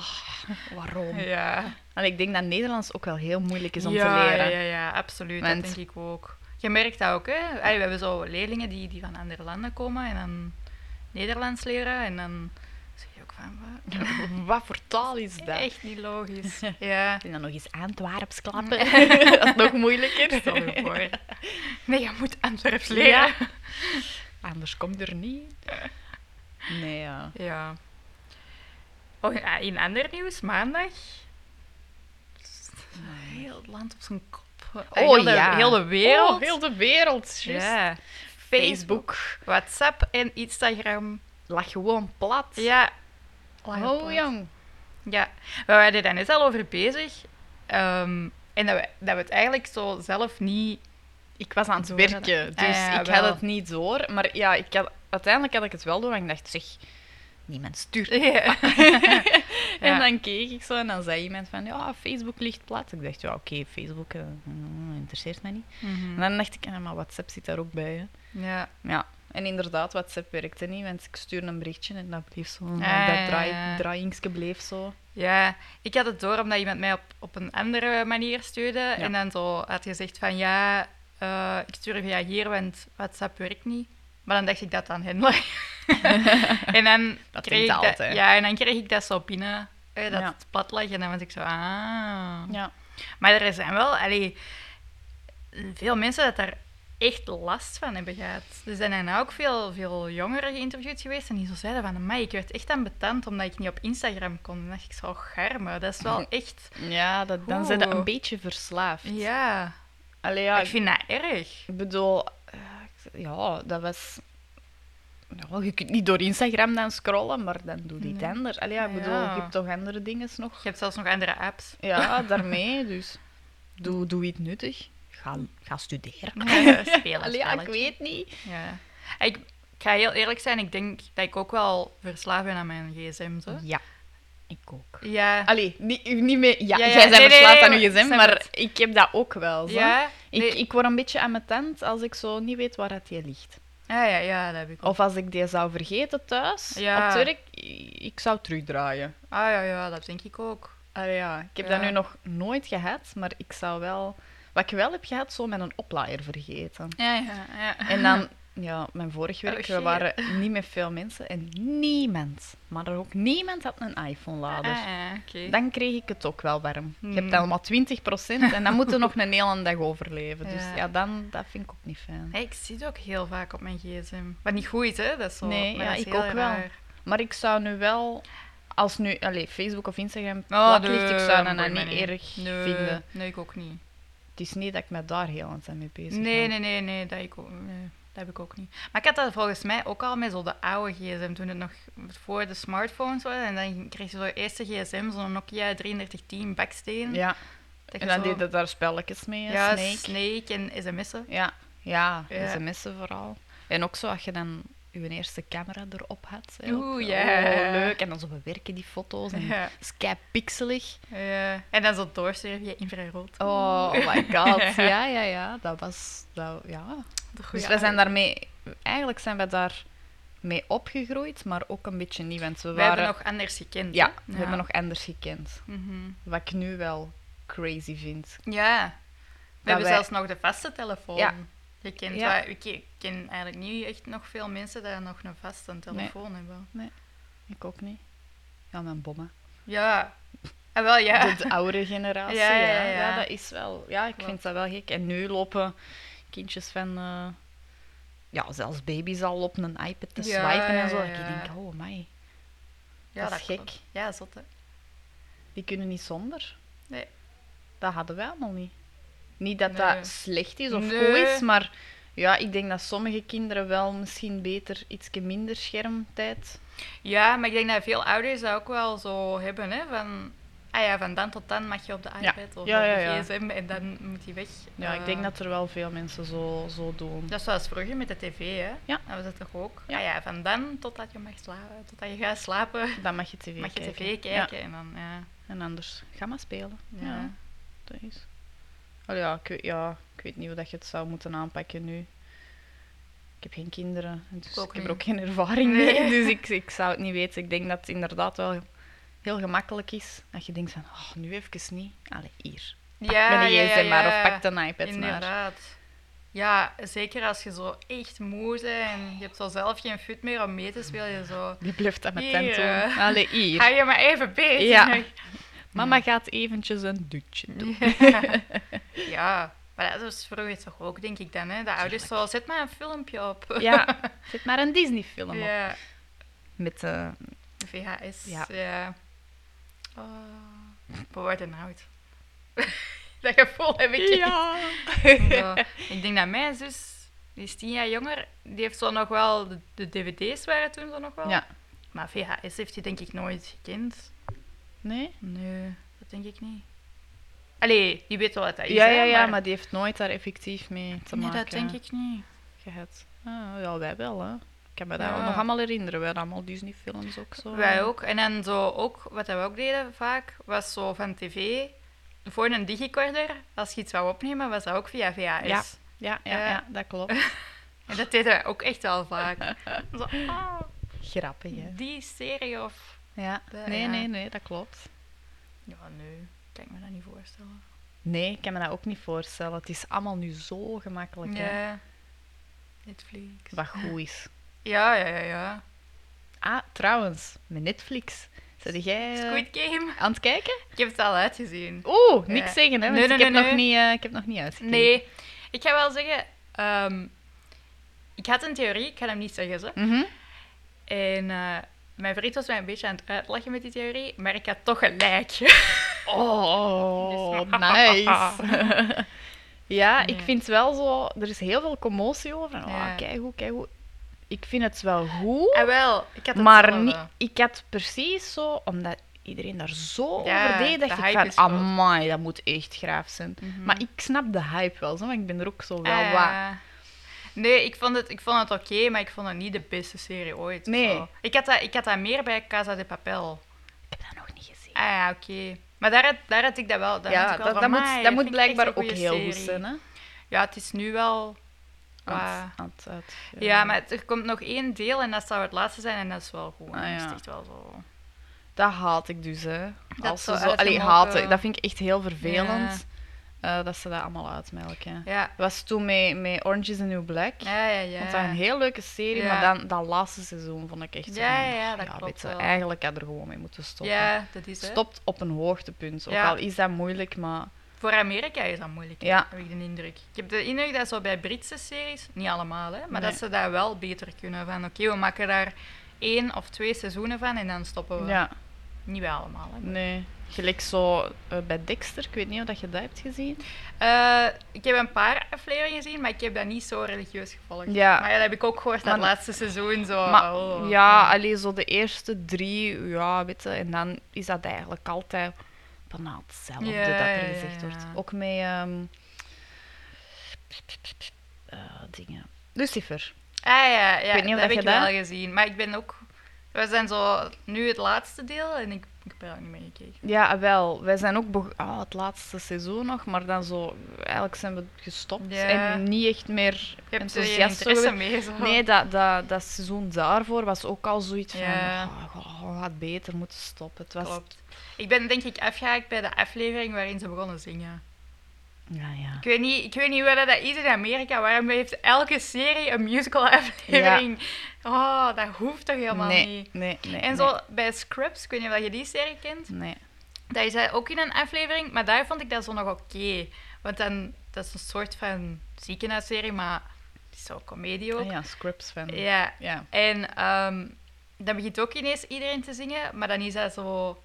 S3: waarom?
S2: ja.
S3: En ik denk dat Nederlands ook wel heel moeilijk is om
S2: ja,
S3: te leren.
S2: Ja, ja, ja, absoluut.
S3: Want-
S2: Dat denk ik ook. Je merkt dat ook, hè? Allee, we hebben zo leerlingen die, die van andere landen komen en dan Nederlands leren en dan zeg je ook van, wat?
S3: Wat voor taal is dat?
S2: Echt niet logisch. ja.
S3: En dan nog eens Antwerps klappen. dat is nog moeilijker.
S2: Stel je voor. Nee, je moet Antwerps leren. Ja.
S3: Anders komt er niet. Nee, ja.
S2: Oh, ja, in ander nieuws, maandag Heel het land op zijn kop.
S3: Oh,
S2: heel de,
S3: ja.
S2: Heel de wereld.
S3: Oh, heel de wereld. juist.
S2: Ja. Facebook,
S3: Facebook.
S2: WhatsApp en Instagram.
S3: Lag gewoon plat.
S2: Ja.
S3: Oh,
S2: Lagerplat.
S3: jong.
S2: Ja, we waren daar net al over bezig. Ehm, en dat we, dat we het eigenlijk zo zelf niet...
S3: Ik was aan het
S2: Door dat-
S3: werken,
S2: Ah,
S3: dus
S2: ja,
S3: ik
S2: wel.
S3: had het niet door. Maar ja, ik had, uiteindelijk had ik het wel door, want ik dacht, zeg, niemand stuurt.
S2: Ja.
S3: En dan keek ik zo en dan zei iemand van, ja, Facebook ligt plat. Ik dacht, ja, oké, Facebook eh, mm, interesseert mij niet. En dan dacht ik, ah, maar WhatsApp zit daar ook bij, hè.
S2: Mhm. Ja.
S3: Ja. En inderdaad, WhatsApp werkte niet, want ik stuurde een berichtje en dat bleef zo,
S2: ja, ja,
S3: dat draai,
S2: ja.
S3: draaiingske bleef zo.
S2: ja, ik had het door omdat iemand mij op, op een andere manier stuurde. En dan zo had gezegd van, ja, eh, ik stuur via hier, want WhatsApp werkt niet. Maar dan dacht ik dat aan hen lag. en dan
S3: Dat
S2: kreeg
S3: denkt
S2: ik dat,
S3: altijd.
S2: Ja, en dan kreeg ik dat zo binnen. eh, dat
S3: Ja.
S2: het plat lag. En dan was ik zo, ah...
S3: Ja.
S2: Maar er zijn wel allee, veel mensen dat daar echt last van hebben gehad. Er zijn daarna ook veel, veel jongeren geïnterviewd geweest en die zo zeiden van, mij, ik werd echt aan betand omdat ik niet op Instagram kon. En dan dacht ik zo, garme, dat is wel echt...
S3: Ja, dat, dan zijn ze
S2: Oeh.
S3: een beetje verslaafd.
S2: Ja,
S3: Allee, ja,
S2: ik vind dat erg.
S3: Ik bedoel, eh, ik- ja, dat was. Ja, je kunt niet door Instagram dan scrollen, maar dan doe je het
S2: Nee.
S3: anders. Allee, ja, ik bedoel,
S2: Ja.
S3: je hebt toch andere dingen nog?
S2: Je hebt zelfs nog andere apps.
S3: Ja, daarmee, dus doe, doe iets nuttig. Ga, ga studeren.
S2: Ja, spelen,
S3: Allee, ja, ik
S2: spelletjes.
S3: weet niet.
S2: Ja. Ik, ik ga heel eerlijk zijn, ik denk dat ik ook wel verslaafd ben aan mijn gsm. Zo.
S3: Ja, ik ook.
S2: Ja.
S3: Allee, niet, niet meer... Ja,
S2: Ja, ja,
S3: jij bent
S2: nee, nee,
S3: verslaafd
S2: nee,
S3: aan je
S2: ik
S3: gezin,
S2: snap
S3: maar
S2: het.
S3: ik heb dat ook wel. Zo.
S2: Ja?
S3: ik,
S2: Nee.
S3: ik word een beetje aan mijn tent als ik zo niet weet waar dat je ligt.
S2: Ah, ja, ja, dat heb ik ook.
S3: Of als ik die zou vergeten thuis,
S2: Ja.
S3: op het werk, i- ik zou terugdraaien.
S2: Ah ja, ja, dat denk ik ook.
S3: Allee, ja. Ik heb
S2: Ja.
S3: dat nu nog nooit gehad, maar ik zou wel... Wat ik wel heb gehad, zo met een oplaaier vergeten.
S2: Ja, ja, ja.
S3: En dan, ja, mijn vorig
S2: Oh,
S3: werk, we
S2: shit.
S3: waren niet met veel mensen en niemand, maar er ook niemand had een iPhone-lader.
S2: Ah, ja, oké.
S3: Dan kreeg ik het ook wel warm. Je
S2: Hmm.
S3: hebt dan maar 20 en dan moeten nog een hele dag overleven. Dus
S2: Ja.
S3: ja, dan, dat vind ik ook niet fijn.
S2: Nee, ik zie het ook heel vaak op mijn gsm. Wat niet goed is, hè? Dat is zo,
S3: Nee,
S2: maar
S3: ja,
S2: dat is
S3: ik
S2: heel
S3: ook wel.
S2: raar.
S3: Maar ik zou nu wel, als nu allee, Facebook of Instagram
S2: Oh,
S3: plat
S2: nee,
S3: ligt, ik zou dat
S2: boeit
S3: nou
S2: mij
S3: niet erg
S2: nee,
S3: vinden.
S2: Nee, ik ook niet.
S3: Het is niet dat ik me daar heel aan zijn mee bezig
S2: Nee,
S3: hou.
S2: nee, nee, nee, dat, ik ook, nee, dat heb ik ook niet. Maar ik had dat volgens mij ook al met zo de oude gsm, toen het nog voor de smartphones was. En dan kreeg je zo'n eerste gsm, zo'n Nokia 3310 baksteen.
S3: Ja,
S2: Dat
S3: en
S2: je
S3: dan
S2: zo-
S3: deed dat daar spelletjes mee,
S2: ja,
S3: ja,
S2: Snake.
S3: Snake.
S2: en sms'en.
S3: Ja, ja,
S2: Ja.
S3: sms'en vooral. En ook zo, als je dan je eerste camera erop had. hè, ook,
S2: Oeh, ja.
S3: oh, leuk. En dan zo bewerken die foto's. En
S2: Ja.
S3: sky pixelig.
S2: Ja. En dan zo doorsturen via infrarood.
S3: Oh, my god. Ja, ja, ja. Dat was... Dat, ja.
S2: De goeie
S3: Dus wij zijn
S2: oude-
S3: daarmee... Eigenlijk zijn we daar mee opgegroeid, maar ook een beetje niet. Want we
S2: We
S3: waren...
S2: hebben nog anders gekend.
S3: Ja,
S2: hè?
S3: we hebben nog anders gekend.
S2: Mhm.
S3: Wat ik nu wel crazy vind.
S2: Ja. We hebben
S3: wij-
S2: zelfs nog de vaste telefoon.
S3: Ja.
S2: Je kent,
S3: Ja.
S2: wa- ik ik ken eigenlijk niet echt nog veel mensen die nog een vaste telefoon hebben.
S3: Ik ook niet. Ja, mijn bommen.
S2: Ja. Ah, wel, ja.
S3: De, de oude generatie,
S2: Ja,
S3: ja
S2: ja,
S3: ja,
S2: ja.
S3: dat is wel... Ja, ik
S2: Klopt.
S3: vind dat wel gek. En nu lopen kindjes van... eh, ja, zelfs baby's al op een iPad te
S2: Ja,
S3: swipen en zo.
S2: ja,
S3: Dat
S2: ja.
S3: Ik denk, oh my,
S2: ja,
S3: dat is gek.
S2: klopt. Ja, zotte.
S3: die kunnen niet zonder.
S2: Nee.
S3: Dat hadden wij allemaal niet. Niet dat
S2: Nee.
S3: dat slecht is of
S2: Nee.
S3: goed is, maar... Ja, ik denk dat sommige kinderen wel misschien beter iets minder schermtijd...
S2: Ja, maar ik denk dat veel ouders dat ook wel zo hebben, hè. Van, ah ja, van dan tot dan mag je op de
S3: Ja.
S2: iPad of
S3: Ja, ja,
S2: op
S3: ja.
S2: de gsm en dan moet die weg.
S3: Ja, ik denk
S2: Eh,
S3: dat er wel veel mensen zo, zo doen.
S2: Dat is zoals vroeger met de tv, hè.
S3: Ja.
S2: Dat was het toch ook?
S3: Ja.
S2: Ah ja, van dan totdat je mag slapen, totdat je gaat slapen,
S3: Dan mag je tv
S2: mag je
S3: kijken.
S2: tv
S3: Ja,
S2: kijken en dan, ja.
S3: en anders, ga maar spelen.
S2: ja.
S3: ja. Dat is. Allee, ja, ik weet, ja, ik weet niet hoe dat je het zou moeten aanpakken nu. Ik heb geen kinderen, en dus
S2: Ik ook
S3: ik heb
S2: niet.
S3: er ook geen ervaring
S2: Nee.
S3: mee. Dus ik, ik zou het niet weten. Ik denk dat het inderdaad wel heel gemakkelijk is. Dat je denkt van, oh, nu even niet. Allee, hier.
S2: Ja,
S3: Met een
S2: ja, ja,
S3: gsm maar,
S2: ja.
S3: of pak een iPad maar.
S2: Inderdaad. Ja, zeker als je zo echt moe bent en je hebt zo zelf geen fut meer om mee te spelen. Je zo,
S3: Die bluft dat met
S2: Hier,
S3: tent doen.
S2: eh.
S3: Allee,
S2: ga
S3: hier.
S2: je maar even bezig.
S3: Ja. Mama gaat eventjes een dutje doen.
S2: Ja. ja, maar dat was vroeger toch ook, denk ik dan. Hè? De ouders zo, zet maar een filmpje op.
S3: Ja, zit maar een Disney-film op.
S2: Ja,
S3: Met, eh,
S2: VHS. Ja.
S3: Ja.
S2: Oh, we worden oud. dat gevoel heb ik echt.
S3: Ja.
S2: Zo, Ik denk dat mijn zus, die is tien jaar jonger, die heeft zo nog wel... De, de dvd's waren toen zo nog wel.
S3: ja.
S2: Maar VHS heeft hij denk ik nooit gekend.
S3: Nee?
S2: Nee, dat denk ik niet. Allee, die weet wel wat dat is,
S3: Ja,
S2: hè,
S3: ja, ja, maar die heeft nooit daar effectief mee te
S2: Nee,
S3: maken.
S2: dat denk ik niet.
S3: Gehad. Ah, ja, wij wel, hè. Ik kan me dat
S2: Ja.
S3: nog allemaal herinneren. Wij hadden allemaal Disney-films ook zo.
S2: Wij ook. En dan zo ook, wat dat we ook deden vaak, was zo van tv, voor een digicorder, als je iets wou opnemen, was dat ook via VHS.
S3: Ja. Ja, ja,
S2: Ja.
S3: ja, dat klopt.
S2: En dat deden wij ook echt wel vaak. zo, ah,
S3: Grappig, hè.
S2: die serie of...
S3: Ja.
S2: Dat-
S3: Nee,
S2: ja.
S3: nee, nee, dat klopt.
S2: Ja, nee, ik kan me dat niet voorstellen.
S3: Nee, ik kan me dat ook niet voorstellen. Het is allemaal nu zo gemakkelijk, hè.
S2: Ja. Netflix.
S3: Wat goed is.
S2: Ja, ja, ja, ja.
S3: Ah, trouwens, met Netflix. Zat jij eh,
S2: Squid Game.
S3: aan het kijken?
S2: Ik heb het al uitgezien.
S3: Oeh, niks
S2: Ja.
S3: zeggen, hè. Want
S2: Nee,
S3: ik,
S2: nee,
S3: heb
S2: nee,
S3: nog
S2: nee.
S3: Niet, eh, ik heb nog niet uitgekeken.
S2: Nee, ik ga wel zeggen, ehm, ik had een theorie, ik ga hem niet zeggen zo.
S3: Mhm.
S2: En eh, mijn vriend was mij een beetje aan het uitlachen met die theorie, maar ik had toch gelijk.
S3: Oh,
S2: Dus-
S3: nice. ja, ik
S2: Nee.
S3: vind wel zo... Er is heel veel commotie over. en,
S2: Ja.
S3: Oh, keigoed, keigoed. Ik vind het wel goed,
S2: Ah, wel, ik had het
S3: maar
S2: zelf
S3: niet,
S2: wel. eh.
S3: ik had precies zo... Omdat iedereen daar zo
S2: Ja,
S3: over deed,
S2: de
S3: dacht
S2: hype
S3: ik
S2: is
S3: van...
S2: groot.
S3: Amai, dat moet echt graaf zijn.
S2: Mhm.
S3: Maar ik snap de hype wel, zo, want ik ben er ook zo wel
S2: Ah,
S3: waar.
S2: Nee, ik vond het, ik vond het oké, maar ik vond het niet de beste serie ooit. of
S3: Nee.
S2: zo. Ik had, dat, ik had dat meer bij Casa de Papel.
S3: Ik heb dat nog niet gezien.
S2: Ah ja, oké. Maar daar, had- daar had ik dat wel. Daar had
S3: ja,
S2: ik wel van,
S3: dat, dat moet,
S2: "Amai,
S3: dat
S2: vind
S3: moet
S2: ik
S3: blijkbaar
S2: echt
S3: ook
S2: een goeie
S3: heel goed
S2: serie."
S3: zijn, hè? eh,
S2: Ja, het is nu wel... qua-
S3: Aan het- aan het eh, uit-
S2: Ja, maar het- er komt nog één deel en dat zou het laatste zijn en dat is wel goed.
S3: Ah,
S2: Dat is
S3: ja.
S2: echt wel zo.
S3: Dat haat ik dus, hè.
S2: Dat
S3: Als
S2: zo
S3: ze zo,
S2: uit
S3: allee,
S2: hem
S3: haat
S2: ook,
S3: ik. Dat vind ik echt heel
S2: Ja.
S3: vervelend. eh, dat ze dat allemaal uitmelken. Het
S2: Ja,
S3: was toen met, met Orange is the New Black.
S2: ja, ja. ja.
S3: Ik vond dat een heel leuke serie,
S2: Ja.
S3: maar dan, dat laatste seizoen vond ik echt zo...
S2: Ja,
S3: van,
S2: ja, ja, dat
S3: weet
S2: klopt
S3: je,
S2: wel.
S3: Eigenlijk had er gewoon mee moeten stoppen.
S2: Ja, dat is het.
S3: Stopt op een hoogtepunt. Ook
S2: Ja.
S3: al is dat moeilijk, maar...
S2: Voor Amerika is dat moeilijk, hè,
S3: Ja.
S2: heb ik de indruk. Ik heb de indruk dat zo bij Britse series, niet allemaal, hè, maar dat
S3: Nee.
S2: ze daar wel beter kunnen. Van oké, we maken daar één of twee seizoenen van en dan stoppen we.
S3: Ja,
S2: Niet bij allemaal. Hè.
S3: nee. Gelijk zo eh, bij Dexter. Ik weet niet of dat je dat hebt gezien.
S2: Eh, ik heb een paar afleveringen gezien, maar ik heb dat niet zo religieus gevolgd.
S3: Ja.
S2: Maar ja, dat heb ik ook gehoord dat
S3: Maar-
S2: laatste seizoen zo.
S3: Maar
S2: oh,
S3: ja, alleen zo de eerste drie, ja, weet je, en dan is dat eigenlijk altijd bijna hetzelfde
S2: Ja,
S3: dat er
S2: ja,
S3: gezegd
S2: ja.
S3: wordt. Ook met ehm, eh, dingen. Lucifer.
S2: Ah ja, ja
S3: weet niet of
S2: dat
S3: dat
S2: heb ik
S3: je dat-
S2: wel gezien. Maar ik ben ook... We zijn zo nu het laatste deel en ik, ik heb er ook niet mee gekeken.
S3: Ja, wel. Wij zijn ook beg- ah, het laatste seizoen nog, maar dan zo, eigenlijk zijn we gestopt
S2: Ja.
S3: en niet echt meer
S2: Je hebt er
S3: enthousiast. zo
S2: interesse
S3: geweest.
S2: mee, zo.
S3: Nee, dat, dat, dat seizoen daarvoor was ook al zoiets van,
S2: Ja.
S3: oh, oh, had beter moeten stoppen. Het was,
S2: Klopt. Ik ben denk ik afgehaakt bij de aflevering waarin ze begonnen zingen.
S3: ja, ja.
S2: Ik weet niet, ik weet niet wat dat is in Amerika. Waarom heeft elke serie een musical aflevering? Oh, dat hoeft toch helemaal
S3: nee,
S2: niet?
S3: Nee, nee,
S2: En zo bij Scrubs, ik weet niet of je die serie kent,
S3: Nee. nee.
S2: dat is hij ook in een aflevering, maar daar vond ik dat zo nog oké. Want dan, dat is een soort van ziekenhuisserie, maar het is zo comedie ook.
S3: Ah ja, Scripps fan. Ja.
S2: Ja, en ehm, dan begint ook ineens iedereen te zingen, maar dan is dat zo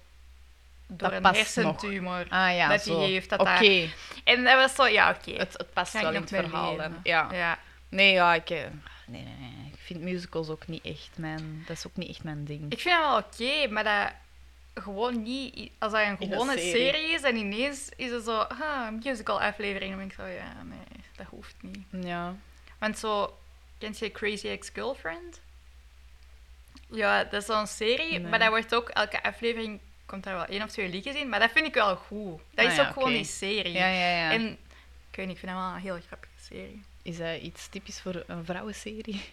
S2: door
S3: Dat
S2: een
S3: past
S2: hersentumor.
S3: Ah ja,
S2: Dat die
S3: zo.
S2: heeft, dat
S3: Oké,
S2: daar- En dat was zo, ja, oké.
S3: het, het past
S2: Ga ik
S3: wel in
S2: nog
S3: het
S2: mee
S3: verhaal.
S2: leven.
S3: hè. Ja.
S2: Ja.
S3: Nee, ja, ik... eh, Nee, nee, nee. Ik vind musicals ook niet echt mijn... Dat is ook niet echt mijn ding.
S2: Ik vind dat wel oké, maar dat gewoon niet... i- Als dat een
S3: In een
S2: gewone serie.
S3: serie.
S2: is en ineens is het zo, ah, een musical aflevering, dan denk ik zo, ja, nee, dat hoeft niet.
S3: Ja.
S2: Want zo, kent je Crazy Ex-Girlfriend? Ja, dat is zo'n serie,
S3: Nee.
S2: maar dat wordt ook, elke aflevering komt daar wel één of twee liedjes in, maar dat vind ik wel goed. Dat
S3: Ah
S2: is
S3: ja,
S2: ook gewoon
S3: oké.
S2: die serie.
S3: Ja, ja, ja.
S2: En, ik weet niet, ik vind dat wel een heel grappige serie.
S3: Is dat iets typisch voor een vrouwenserie?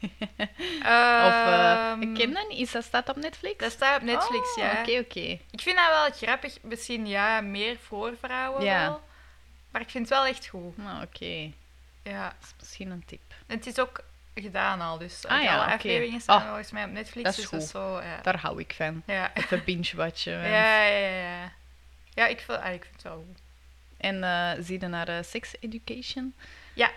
S2: Of,
S3: of... eh, ik ken dat niet. Is dat staat op Netflix?
S2: Ehm. Dat staat op Netflix,
S3: Oh,
S2: ja.
S3: Oké, oké.
S2: Ik vind dat wel grappig. Misschien ja, meer voor vrouwen
S3: Ja.
S2: wel. Maar ik vind het wel echt goed.
S3: Nou, oké.
S2: Ja.
S3: Dat is misschien een tip.
S2: Het is ook gedaan al, dus
S3: Ah ja,
S2: alle
S3: oké.
S2: afleveringen staan
S3: Ah,
S2: volgens mij op Netflix.
S3: dat is
S2: dus dat is
S3: goed.
S2: zo, ja.
S3: Daar hou ik van.
S2: Ja.
S3: Even binge-watchen.
S2: Ja,
S3: want-
S2: ja, ja, ja. Ja, ik vind, ah, ik vind het wel goed.
S3: En eh zie je naar eh, Sex Education?
S2: Ja.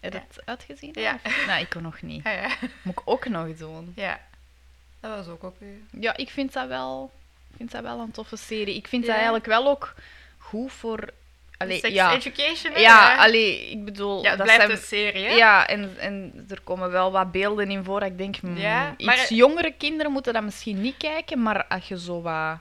S3: Heb je
S2: Ja.
S3: het uitgezien?
S2: Ja.
S3: of- Nou, ik kon nog niet.
S2: Ja, ja.
S3: Moet ik ook nog doen.
S2: ja. Dat was ook Dus oké.
S3: Ja, ik vind dat wel, ik vind dat wel een toffe serie. Ik vind
S2: Ja.
S3: dat eigenlijk wel ook goed voor Allee,
S2: Sex
S3: ja,
S2: education, hè?
S3: ja allee, ik bedoel...
S2: Ja, het
S3: dat
S2: blijft
S3: zijn-
S2: een serie, hè?
S3: Ja, en, en er komen wel wat beelden in voor dat ik denk, mm,
S2: Ja,
S3: iets
S2: maar-
S3: jongere kinderen moeten dat misschien niet kijken, maar als je zo wat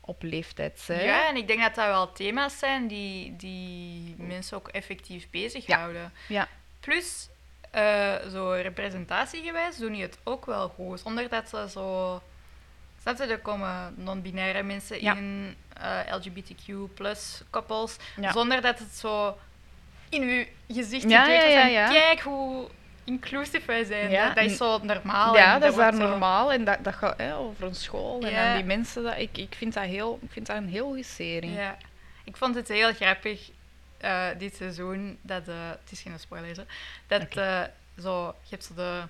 S3: op leeftijd bent...
S2: Ja, en ik denk dat dat wel thema's zijn die, die mensen ook effectief bezighouden.
S3: Ja.
S2: Plus, eh, zo representatiegewijs doen die het ook wel goed. Zonder dat ze zo... Snap je, er komen non-binaire mensen
S3: Ja.
S2: in, eh, LGBTQ plus koppels.
S3: Ja.
S2: Zonder dat het zo in uw gezicht
S3: Ja,
S2: gedrukt wordt
S3: ja, ja,
S2: van,
S3: ja.
S2: Kijk hoe inclusief wij zijn.
S3: Ja,
S2: Dat, dat is zo normaal.
S3: Ja,
S2: en
S3: dat is daar
S2: wordt zo-
S3: normaal. En dat, dat gaat hè, over een school en
S2: Ja.
S3: aan die mensen. Dat, ik, ik, vind dat heel, ik vind dat een heel goede serie.
S2: Ja, ik vond het heel grappig eh, dit seizoen. Dat, eh, het is geen spoiler, hè, dat
S3: Oké.
S2: eh, zo, je hebt zo de,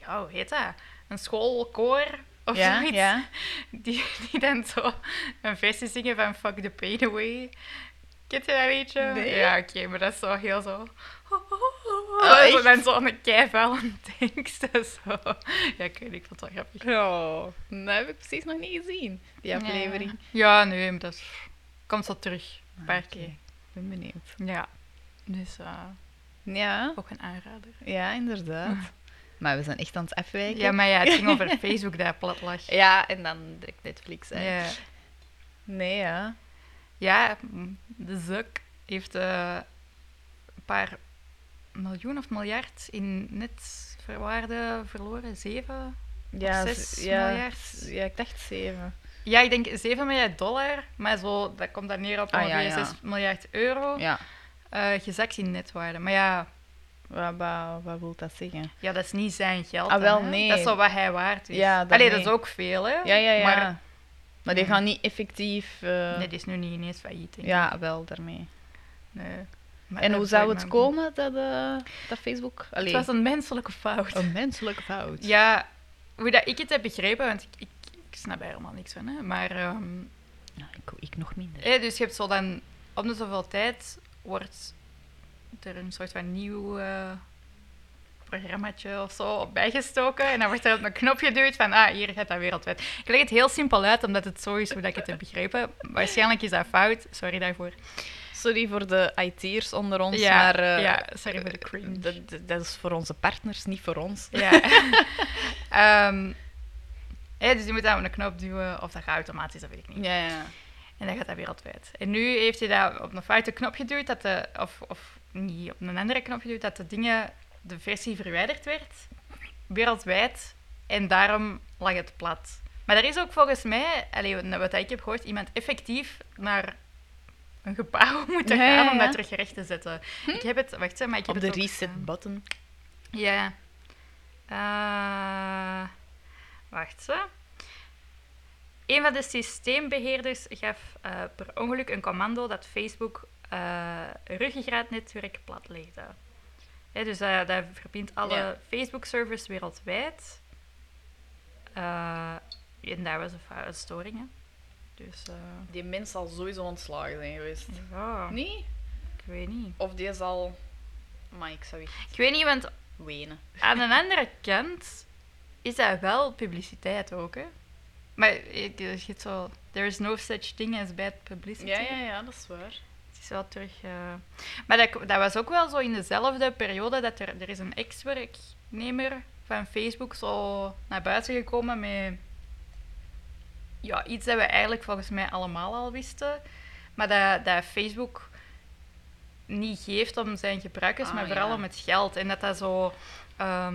S2: ja, hoe heet dat? Een schoolkoor of
S3: ja,
S2: zoiets.
S3: ja.
S2: Die, die dan zo een versie zingen van Fuck the Pain Away. Kent je dat liedje?
S3: Nee.
S2: Ja, oké, maar dat is zo heel zo...
S3: Oh,
S2: zo
S3: echt?
S2: dan zo'n keivel tekst en zo. Ja, ik weet niet, ik vond het wel grappig.
S3: Oh, dat heb ik precies nog niet gezien, die aflevering.
S2: Ja, nee, maar dat is- komt zo terug. Een paar
S3: Ah, oké.
S2: keer.
S3: Ik ben benieuwd.
S2: Ja. Dus eh,
S3: Ja,
S2: ook een aanrader.
S3: ja inderdaad. Maar we zijn echt aan het afwijken.
S2: Ja, maar ja, het ging over Facebook dat plat lag.
S3: Ja, en dan direct Netflix. Hè.
S2: Ja,
S3: Nee, ja.
S2: ja mm, de Zuck heeft eh, een paar miljoen of miljard in netverwaarde verloren. Zeven?
S3: Ja,
S2: zes
S3: z- ja,
S2: miljard.
S3: z- ja, ik dacht zeven.
S2: Ja, ik denk 7 miljard dollar, maar zo, dat komt dan neer op
S3: Ah, ja,
S2: ongeveer
S3: ja.
S2: 6 miljard euro.
S3: Ja.
S2: eh, gezakt in netwaarde. Maar ja,
S3: Wat, wat, wat wil dat zeggen?
S2: ja, dat is niet zijn geld.
S3: Ah,
S2: dan,
S3: wel,
S2: hè.
S3: nee.
S2: Dat is zo wat hij waard is.
S3: Ja, dat
S2: Allee, dat
S3: nee.
S2: is ook veel, hè?
S3: Ja, ja, ja.
S2: Maar
S3: Maar, die
S2: Ja.
S3: gaan niet effectief... eh,
S2: dit is nu niet ineens failliet. denk ik.
S3: ja, wel, daarmee.
S2: Nee. Maar
S3: En
S2: dat
S3: hoe zou
S2: boeit
S3: het
S2: me ook niet.
S3: komen dat, eh, dat Facebook... Allee,
S2: Het was een menselijke fout.
S3: een menselijke fout.
S2: Ja, hoe dat ik het heb begrepen, want ik, ik, ik snap er helemaal niks van. Hè. Maar, ehm,
S3: Nou, ik, ik nog minder.
S2: hè, dus je hebt zo dan, om de zoveel tijd wordt er een soort van nieuw eh programmaatje of zo op bijgestoken. En dan wordt er op een knop geduwd van, ah, hier gaat dat wereldwijd. Ik leg het heel simpel uit, omdat het zo is hoe dat ik het heb begrepen. Waarschijnlijk is dat fout, sorry daarvoor.
S3: Sorry voor de IT'ers onder ons,
S2: Ja,
S3: maar... eh,
S2: ja, sorry voor de cringe.
S3: Dat, dat- dat is voor onze partners, niet voor ons.
S2: Ja. Ehm, hè, dus je moet daar op een knop duwen, of dat gaat automatisch, dat weet ik niet.
S3: Ja, ja.
S2: En dan gaat dat wereldwijd. En nu heeft hij dat op een foute knop geduwd, dat de, of, of niet, op een andere knop geduwd, dat de dingen, de versie verwijderd werd, wereldwijd. En daarom lag het plat. Maar er is ook volgens mij, allee, wat- wat ik heb gehoord, iemand effectief naar een gebouw moeten
S3: Ja,
S2: gaan
S3: ja,
S2: om
S3: ja. Hm?
S2: dat terug recht te zetten. Ik heb het, wacht hè, maar ik heb
S3: Op de
S2: het ook-
S3: reset button.
S2: ja. Eh, wacht zo. Een van de systeembeheerders gaf eh, per ongeluk een commando dat Facebook eh ruggengraatnetwerk platlegde. Hè, dus eh, dat verbindt alle
S3: Ja.
S2: Facebook-servers wereldwijd. Eh, en daar was een fou- een storing, hè. Dus, eh,
S3: Die mens zal sowieso ontslagen zijn geweest.
S2: ja,
S3: Nee?
S2: ik weet niet.
S3: Of die zal... Maar ik zou echt
S2: Ik weet niet, want
S3: wenen.
S2: Aan de andere kant is dat wel publiciteit ook, hè? Maar eh, het is het zo... There is no such thing as bad publicity.
S3: ja, dat is waar.
S2: Het is wel terug... eh, Maar dat, dat was ook wel zo in dezelfde periode dat er, er is een ex-werknemer van Facebook zo naar buiten gekomen met... Ja, iets dat we eigenlijk volgens mij allemaal al wisten. Maar dat, dat Facebook niet geeft om zijn gebruikers,
S3: Ah,
S2: maar vooral
S3: ja.
S2: om het geld. En dat dat zo... ehm,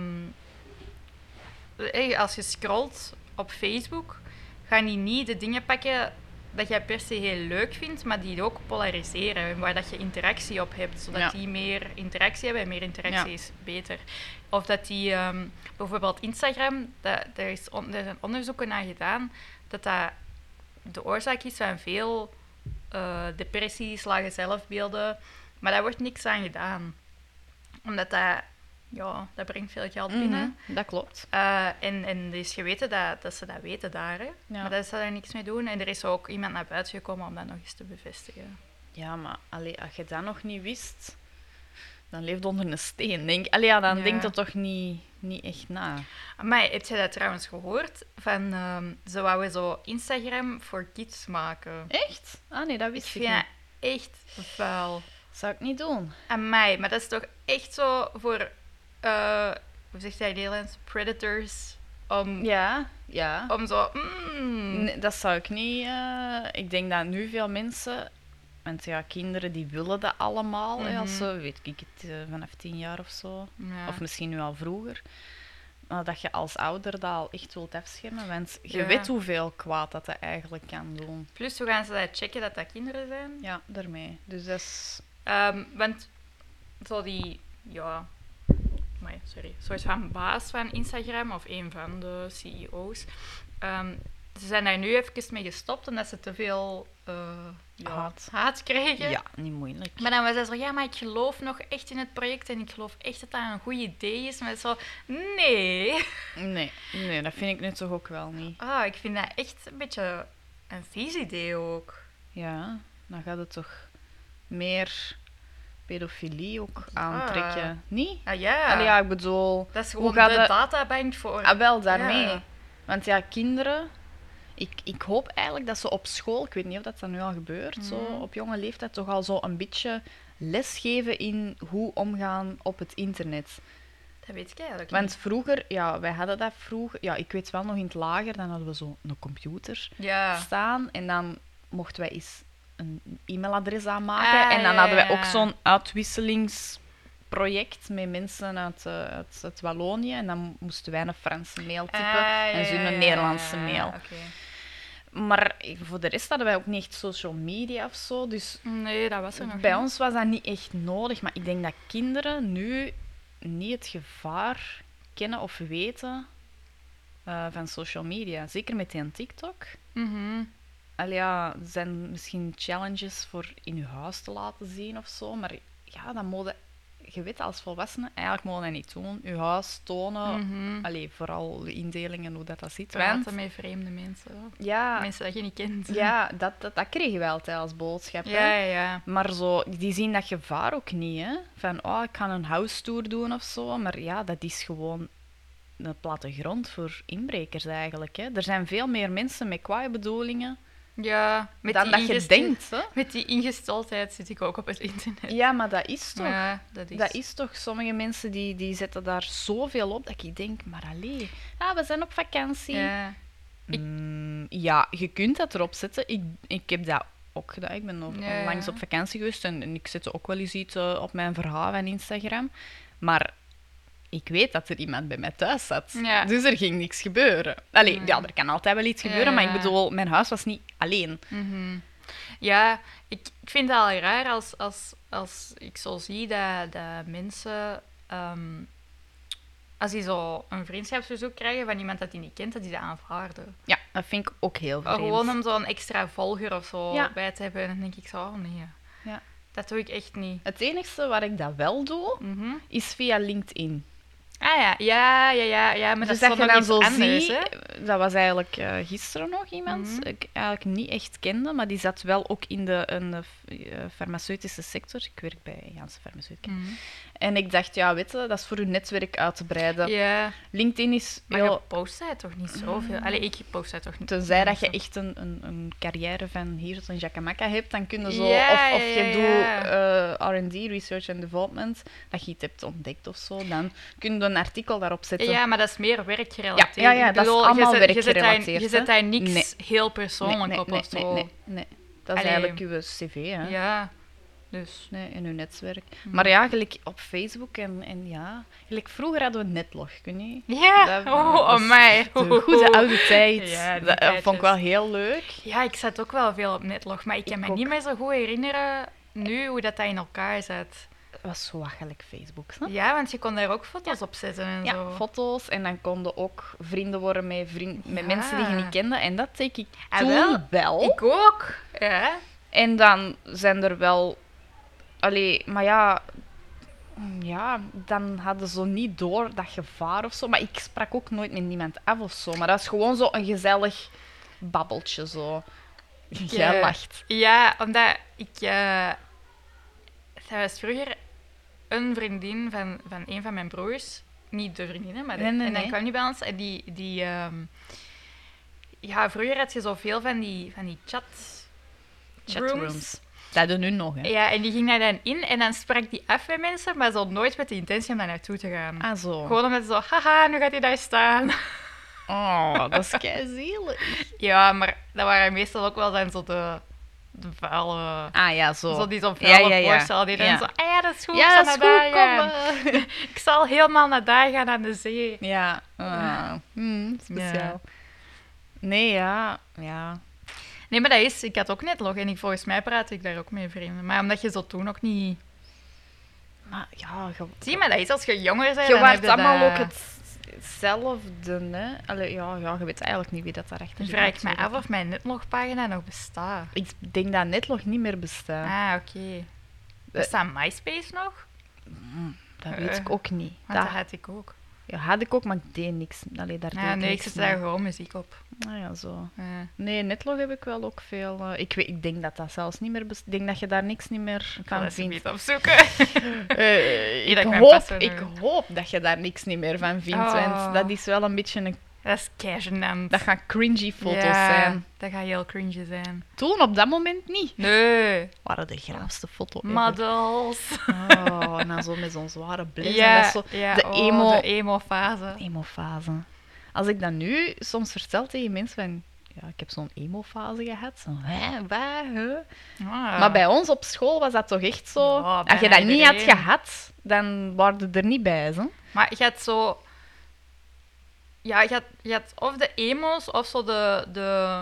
S2: eh, als je scrolt op Facebook, gaan die niet de dingen pakken dat jij per se heel leuk vindt, maar die ook polariseren. en Waar dat je interactie op hebt, zodat
S3: Ja.
S2: die meer interactie hebben. En meer interactie
S3: Ja.
S2: is beter. Of dat die ehm, bijvoorbeeld Instagram, dat, daar, is on- daar zijn onderzoeken naar gedaan dat dat de oorzaak is van veel eh, depressies, lage zelfbeelden. Maar daar wordt niks aan gedaan. Omdat dat, ja, dat brengt veel geld binnen.
S3: Mhm, Dat klopt.
S2: Eh, en, en er is geweten dat, dat ze dat weten daar, hè.
S3: Ja.
S2: maar dat ze daar niks mee doen. En er is ook iemand naar buiten gekomen om dat nog eens te bevestigen.
S3: Ja, maar allee, als je dat nog niet wist, dan leeft onder een steen. Denk. Allee, ja, dan
S2: Ja.
S3: denk dat toch niet, niet echt na.
S2: Maar heb je dat trouwens gehoord? Van, ehm ze wouden zo Instagram voor kids maken.
S3: Echt? Ah nee, dat wist
S2: ik
S3: ik
S2: vind
S3: niet.
S2: echt vuil.
S3: Zou ik niet doen.
S2: Aan mij, maar dat is toch echt zo voor, eh hoe zegt hij in het Nederlands? Predators. Om,
S3: Ja, ja.
S2: om zo, mm,
S3: Nee, dat zou ik niet. eh, ik denk dat nu veel mensen, want ja, kinderen die willen dat allemaal. hè, als
S2: Mhm.
S3: ze, weet ik het, eh, vanaf tien jaar of zo.
S2: ja.
S3: Of misschien nu al vroeger. Maar dat je als ouder dat al echt wilt afschermen. Want je
S2: Ja.
S3: weet hoeveel kwaad dat, dat eigenlijk kan doen.
S2: Plus, hoe gaan ze dat checken dat dat kinderen zijn?
S3: Ja, daarmee. Dus dat is...
S2: Ehm, want zo die, ja, amai, sorry, soort van baas van Instagram of een van de CEO's. ehm, ze zijn daar nu even mee gestopt omdat ze te veel eh, ja, haat.
S3: Haat.
S2: kregen.
S3: Ja, niet moeilijk.
S2: Maar dan was hij zo, ja, maar ik geloof nog echt in het project en ik geloof echt dat dat een goed idee is. Maar het is zo, nee.
S3: Nee, nee, dat vind ik nu toch ook wel niet.
S2: Ah, ik vind dat echt een beetje een vies idee ook.
S3: Ja, dan gaat het toch meer pedofilie ook aantrekken. Niet?
S2: Ah ja,
S3: Allee, ja, ik bedoel...
S2: dat is gewoon de
S3: gaat dat-
S2: databank voor...
S3: Ah, wel, daarmee.
S2: Ja.
S3: Want ja, kinderen... Ik, ik hoop eigenlijk dat ze op school, ik weet niet of dat, dat nu al gebeurt, zo,
S2: Mhm.
S3: op jonge leeftijd toch al zo een beetje lesgeven in hoe omgaan op het internet.
S2: Dat weet ik eigenlijk
S3: Want vroeger, ja, wij hadden dat vroeger... Ja, ik weet wel, nog in het lager, dan hadden we zo een computer
S2: niet. Ja.
S3: staan en dan mochten wij eens een e-mailadres aanmaken.
S2: Ah,
S3: en dan
S2: ja,
S3: hadden wij
S2: ja,
S3: ook
S2: ja.
S3: zo'n uitwisselingsproject met mensen uit, eh, uit, uit Wallonië. En dan moesten wij een Franse mail typen
S2: Ah,
S3: en ze een Nederlandse mail. Maar eh, voor de rest hadden wij ook niet echt social media of zo. Dus
S2: Nee, dat was er nog
S3: bij ons was dat niet echt nodig. Maar ik denk dat kinderen nu niet het gevaar kennen of weten eh, van social media. Zeker met die TikTok.
S2: Mhm.
S3: Allee, ja, er zijn misschien challenges voor in je huis te laten zien of zo, maar ja, dat mode, je weet dat als volwassene, eigenlijk mogen dat niet doen. Je huis tonen, allee, vooral de indelingen, hoe dat, dat zit. Want,
S2: Mhm. Praten met vreemde mensen.
S3: ja,
S2: Mensen dat je niet kent.
S3: Ah. ja dat, dat, dat kregen wij altijd als boodschap. hè.
S2: ja, ja.
S3: Maar zo, die zien dat gevaar ook niet, hè. Van, oh, ik ga een house tour doen of zo. Maar ja, dat is gewoon een platte grond voor inbrekers eigenlijk, hè. Er zijn veel meer mensen met kwaaie bedoelingen
S2: Ja, met
S3: dan
S2: die
S3: dat je
S2: ingest-
S3: denkt, hè.
S2: Met die ingesteldheid zit ik ook op het internet.
S3: Ja, maar dat is toch...
S2: Ja, dat is.
S3: Dat is toch, sommige mensen die, die zetten daar zoveel op dat ik denk, maar allee, ah, we zijn op vakantie. Ja.
S2: Ja.
S3: ja, je kunt dat erop zetten. Ik, ik heb dat ook gedaan. Ik ben
S2: Ja, ja.
S3: onlangs langs op vakantie geweest en, en ik zette ook wel eens iets eh, op mijn verhaal en Instagram. Maar ik weet dat er iemand bij mij thuis zat.
S2: Ja.
S3: Dus er ging niks gebeuren. Allee,
S2: Nee.
S3: ja, er kan altijd wel iets
S2: Ja,
S3: gebeuren, maar
S2: ja.
S3: ik bedoel, mijn huis was niet alleen.
S2: Mhm. Ja, ik, ik vind het al raar als, als, als ik zo zie dat, dat mensen, ehm, als die zo een vriendschapsverzoek krijgen van iemand dat die niet kent, dat die dat aanvaarden.
S3: Ja, dat vind ik ook heel
S2: Maar
S3: vreemd.
S2: Oh, Gewoon om zo'n extra volger of zo
S3: Ja.
S2: bij te hebben. En dan denk ik zo, oh nee.
S3: Ja.
S2: Dat doe ik echt niet.
S3: Het enige waar ik dat wel doe,
S2: Mhm.
S3: is via LinkedIn.
S2: Ah ja, ja, ja, ja. ja maar
S3: dus
S2: dat
S3: dat,
S2: is
S3: je
S2: toch nog
S3: dan
S2: iets
S3: zo
S2: anders,
S3: ziet,
S2: hè?
S3: dat was eigenlijk eh, gisteren nog iemand,
S2: Mhm.
S3: ik eigenlijk niet echt kende, maar die zat wel ook in de, in de f- eh, farmaceutische sector. Ik werk bij Janssen Farmaceutica.
S2: Mhm.
S3: En ik dacht, ja, weet je, dat is voor uw netwerk uit te breiden.
S2: Ja,
S3: LinkedIn is
S2: maar
S3: heel...
S2: je post dat toch niet zoveel? Allee, ik post dat toch niet
S3: Mm. Tenzij dat je
S2: zo.
S3: echt een, een, een carrière van hier tot een jacamaca hebt, dan kun je zo...
S2: Ja,
S3: of, of
S2: ja,
S3: je
S2: ja,
S3: doet eh, R&D, Research and Development, dat je iets hebt ontdekt of zo, dan kun je een artikel daarop zetten.
S2: Ja, maar dat is meer werkgerelateerd.
S3: Ja, ja, ja,
S2: Ik
S3: dat is
S2: bedoel, je
S3: allemaal
S2: zet- Je zet daar,
S3: werkgerelateerd,
S2: je
S3: hè?
S2: zet daar niks
S3: Nee.
S2: heel persoonlijk op
S3: nee,
S2: of zo.
S3: nee, nee. Dat is
S2: Allee.
S3: eigenlijk uw cv, hè?
S2: Ja, Mm. dus.
S3: Nee, in uw netwerk. Maar ja, gelijk op Facebook en, en ja. Gelijk vroeger hadden we netlog, kun je?
S2: Ja,
S3: Dat-
S2: oh,
S3: dat is
S2: oh mij.
S3: De goede oude tijd.
S2: Ja, die
S3: dat eh, vond ik
S2: tijdjes.
S3: wel heel leuk.
S2: Ja, ik zat ook wel veel op netlog, maar ik kan
S3: Ik
S2: me
S3: ook.
S2: niet meer zo goed herinneren nu hoe dat, dat in elkaar zat.
S3: Het was zo wat gelijk Facebook, snap je?
S2: Ja, want je kon daar ook foto's op zetten en
S3: Ja,
S2: zo.
S3: foto's en dan konden ook vrienden worden met, vriend, met
S2: Ja.
S3: mensen die je niet kende. En dat denk ik
S2: Ah,
S3: toen
S2: wel.
S3: wel.
S2: Ik ook. Ja.
S3: En dan zijn er wel... Allee, maar ja... Ja, dan hadden ze niet door dat gevaar of zo. Maar ik sprak ook nooit met niemand af of zo. Maar dat is gewoon zo een gezellig babbeltje zo. Jij
S2: Ja.
S3: lacht.
S2: Ja, omdat ik. eh dat was vroeger een vriendin van, van een van mijn broers. Niet de vriendin, hè, maar de-
S3: Nee, nee,
S2: en dan
S3: nee.
S2: kwam die bij ons en die. die ehm, ja, vroeger had je zoveel van die, van die chat. Chatrooms.
S3: Chatrooms. Dat doen hun nog, hè.
S2: Ja, en die ging daar dan in en dan sprak die af bij mensen, maar zo nooit met de intentie om daar naartoe te gaan.
S3: Ah, zo.
S2: Gewoon omdat ze zo, haha, nu gaat hij daar staan.
S3: Oh, dat is keizielig.
S2: Ja, maar dat waren meestal ook wel dan zo de, de vuile...
S3: Ah, ja, zo.
S2: Zo die zo'n vuile
S3: ja, ja, ja.
S2: voorstel, die dan
S3: Ja.
S2: zo, ah ja, dat is goed,
S3: Ja,
S2: ik zal
S3: dat is
S2: naar
S3: goed,
S2: daar
S3: kom.
S2: gaan.
S3: eh.
S2: Ik zal helemaal naar daar gaan, aan de zee.
S3: Ja, ah, hmm, speciaal. Nee, ja, ja.
S2: Nee, maar dat is... Ik had ook net log en ik, volgens mij praatte ik daar ook mee vreemden. Maar omdat je zo toen ook niet...
S3: Maar ja, ge-
S2: Zie, maar dat is als je jonger bent,
S3: je
S2: dan heb
S3: waart
S2: je
S3: allemaal
S2: dat-
S3: ook het- hetzelfde, hè. Allee, ja, ja, je weet eigenlijk niet wie dat daarachter
S2: Dan
S3: zit.
S2: vraag ik me af
S3: natuurlijk.
S2: of mijn netlogpagina nog bestaat.
S3: Ik denk dat Netlog niet meer bestaat.
S2: Ah, oké.
S3: Eh,
S2: Bestaat MySpace nog?
S3: Dat weet ik
S2: eh,
S3: ook niet.
S2: Want
S3: Dat
S2: dat had ik ook.
S3: ja, had ik ook, maar ik deed niks. Allee, daar deed
S2: Ja, nee, ik
S3: niks
S2: zet
S3: mee.
S2: daar gewoon muziek op.
S3: Ah, ja, zo.
S2: Eh,
S3: Nee, netlog heb ik wel ook veel. eh, ik, weet, ik denk dat dat zelfs niet meer best- Ik denk dat je daar niks niet meer
S2: ik ga
S3: van
S2: dat
S3: vindt.
S2: niet opzoeken.
S3: Eh,
S2: Niet dat
S3: ik,
S2: ik mijn
S3: hoop,
S2: paswoord
S3: ik
S2: weet.
S3: hoop dat je daar niks niet meer van vindt.
S2: Oh.
S3: Want dat is wel een beetje een.
S2: dat is keigenant.
S3: Dat gaan cringy foto's
S2: Ja,
S3: zijn.
S2: dat gaat heel cringy zijn.
S3: Toen op dat moment niet.
S2: Nee,
S3: Waren de graafste foto's. ever.
S2: models.
S3: Oh, en dan zo met zo'n zware blik. en dat zo,
S2: ja,
S3: de
S2: oh,
S3: emo-
S2: de e- emo-fase.
S3: Emo-fase. Als ik dat nu soms vertel tegen mensen van... Ja, ik heb zo'n emo-fase gehad. Zo, hè, wat, hè?
S2: Ah.
S3: Maar bij ons op school was dat toch echt zo...
S2: Ja,
S3: als je
S2: bijna
S3: dat niet had
S2: iedereen.
S3: gehad, dan waren we er niet bij, hè?
S2: Maar je had zo... Ja, je had, je had of de emo's of zo de... de...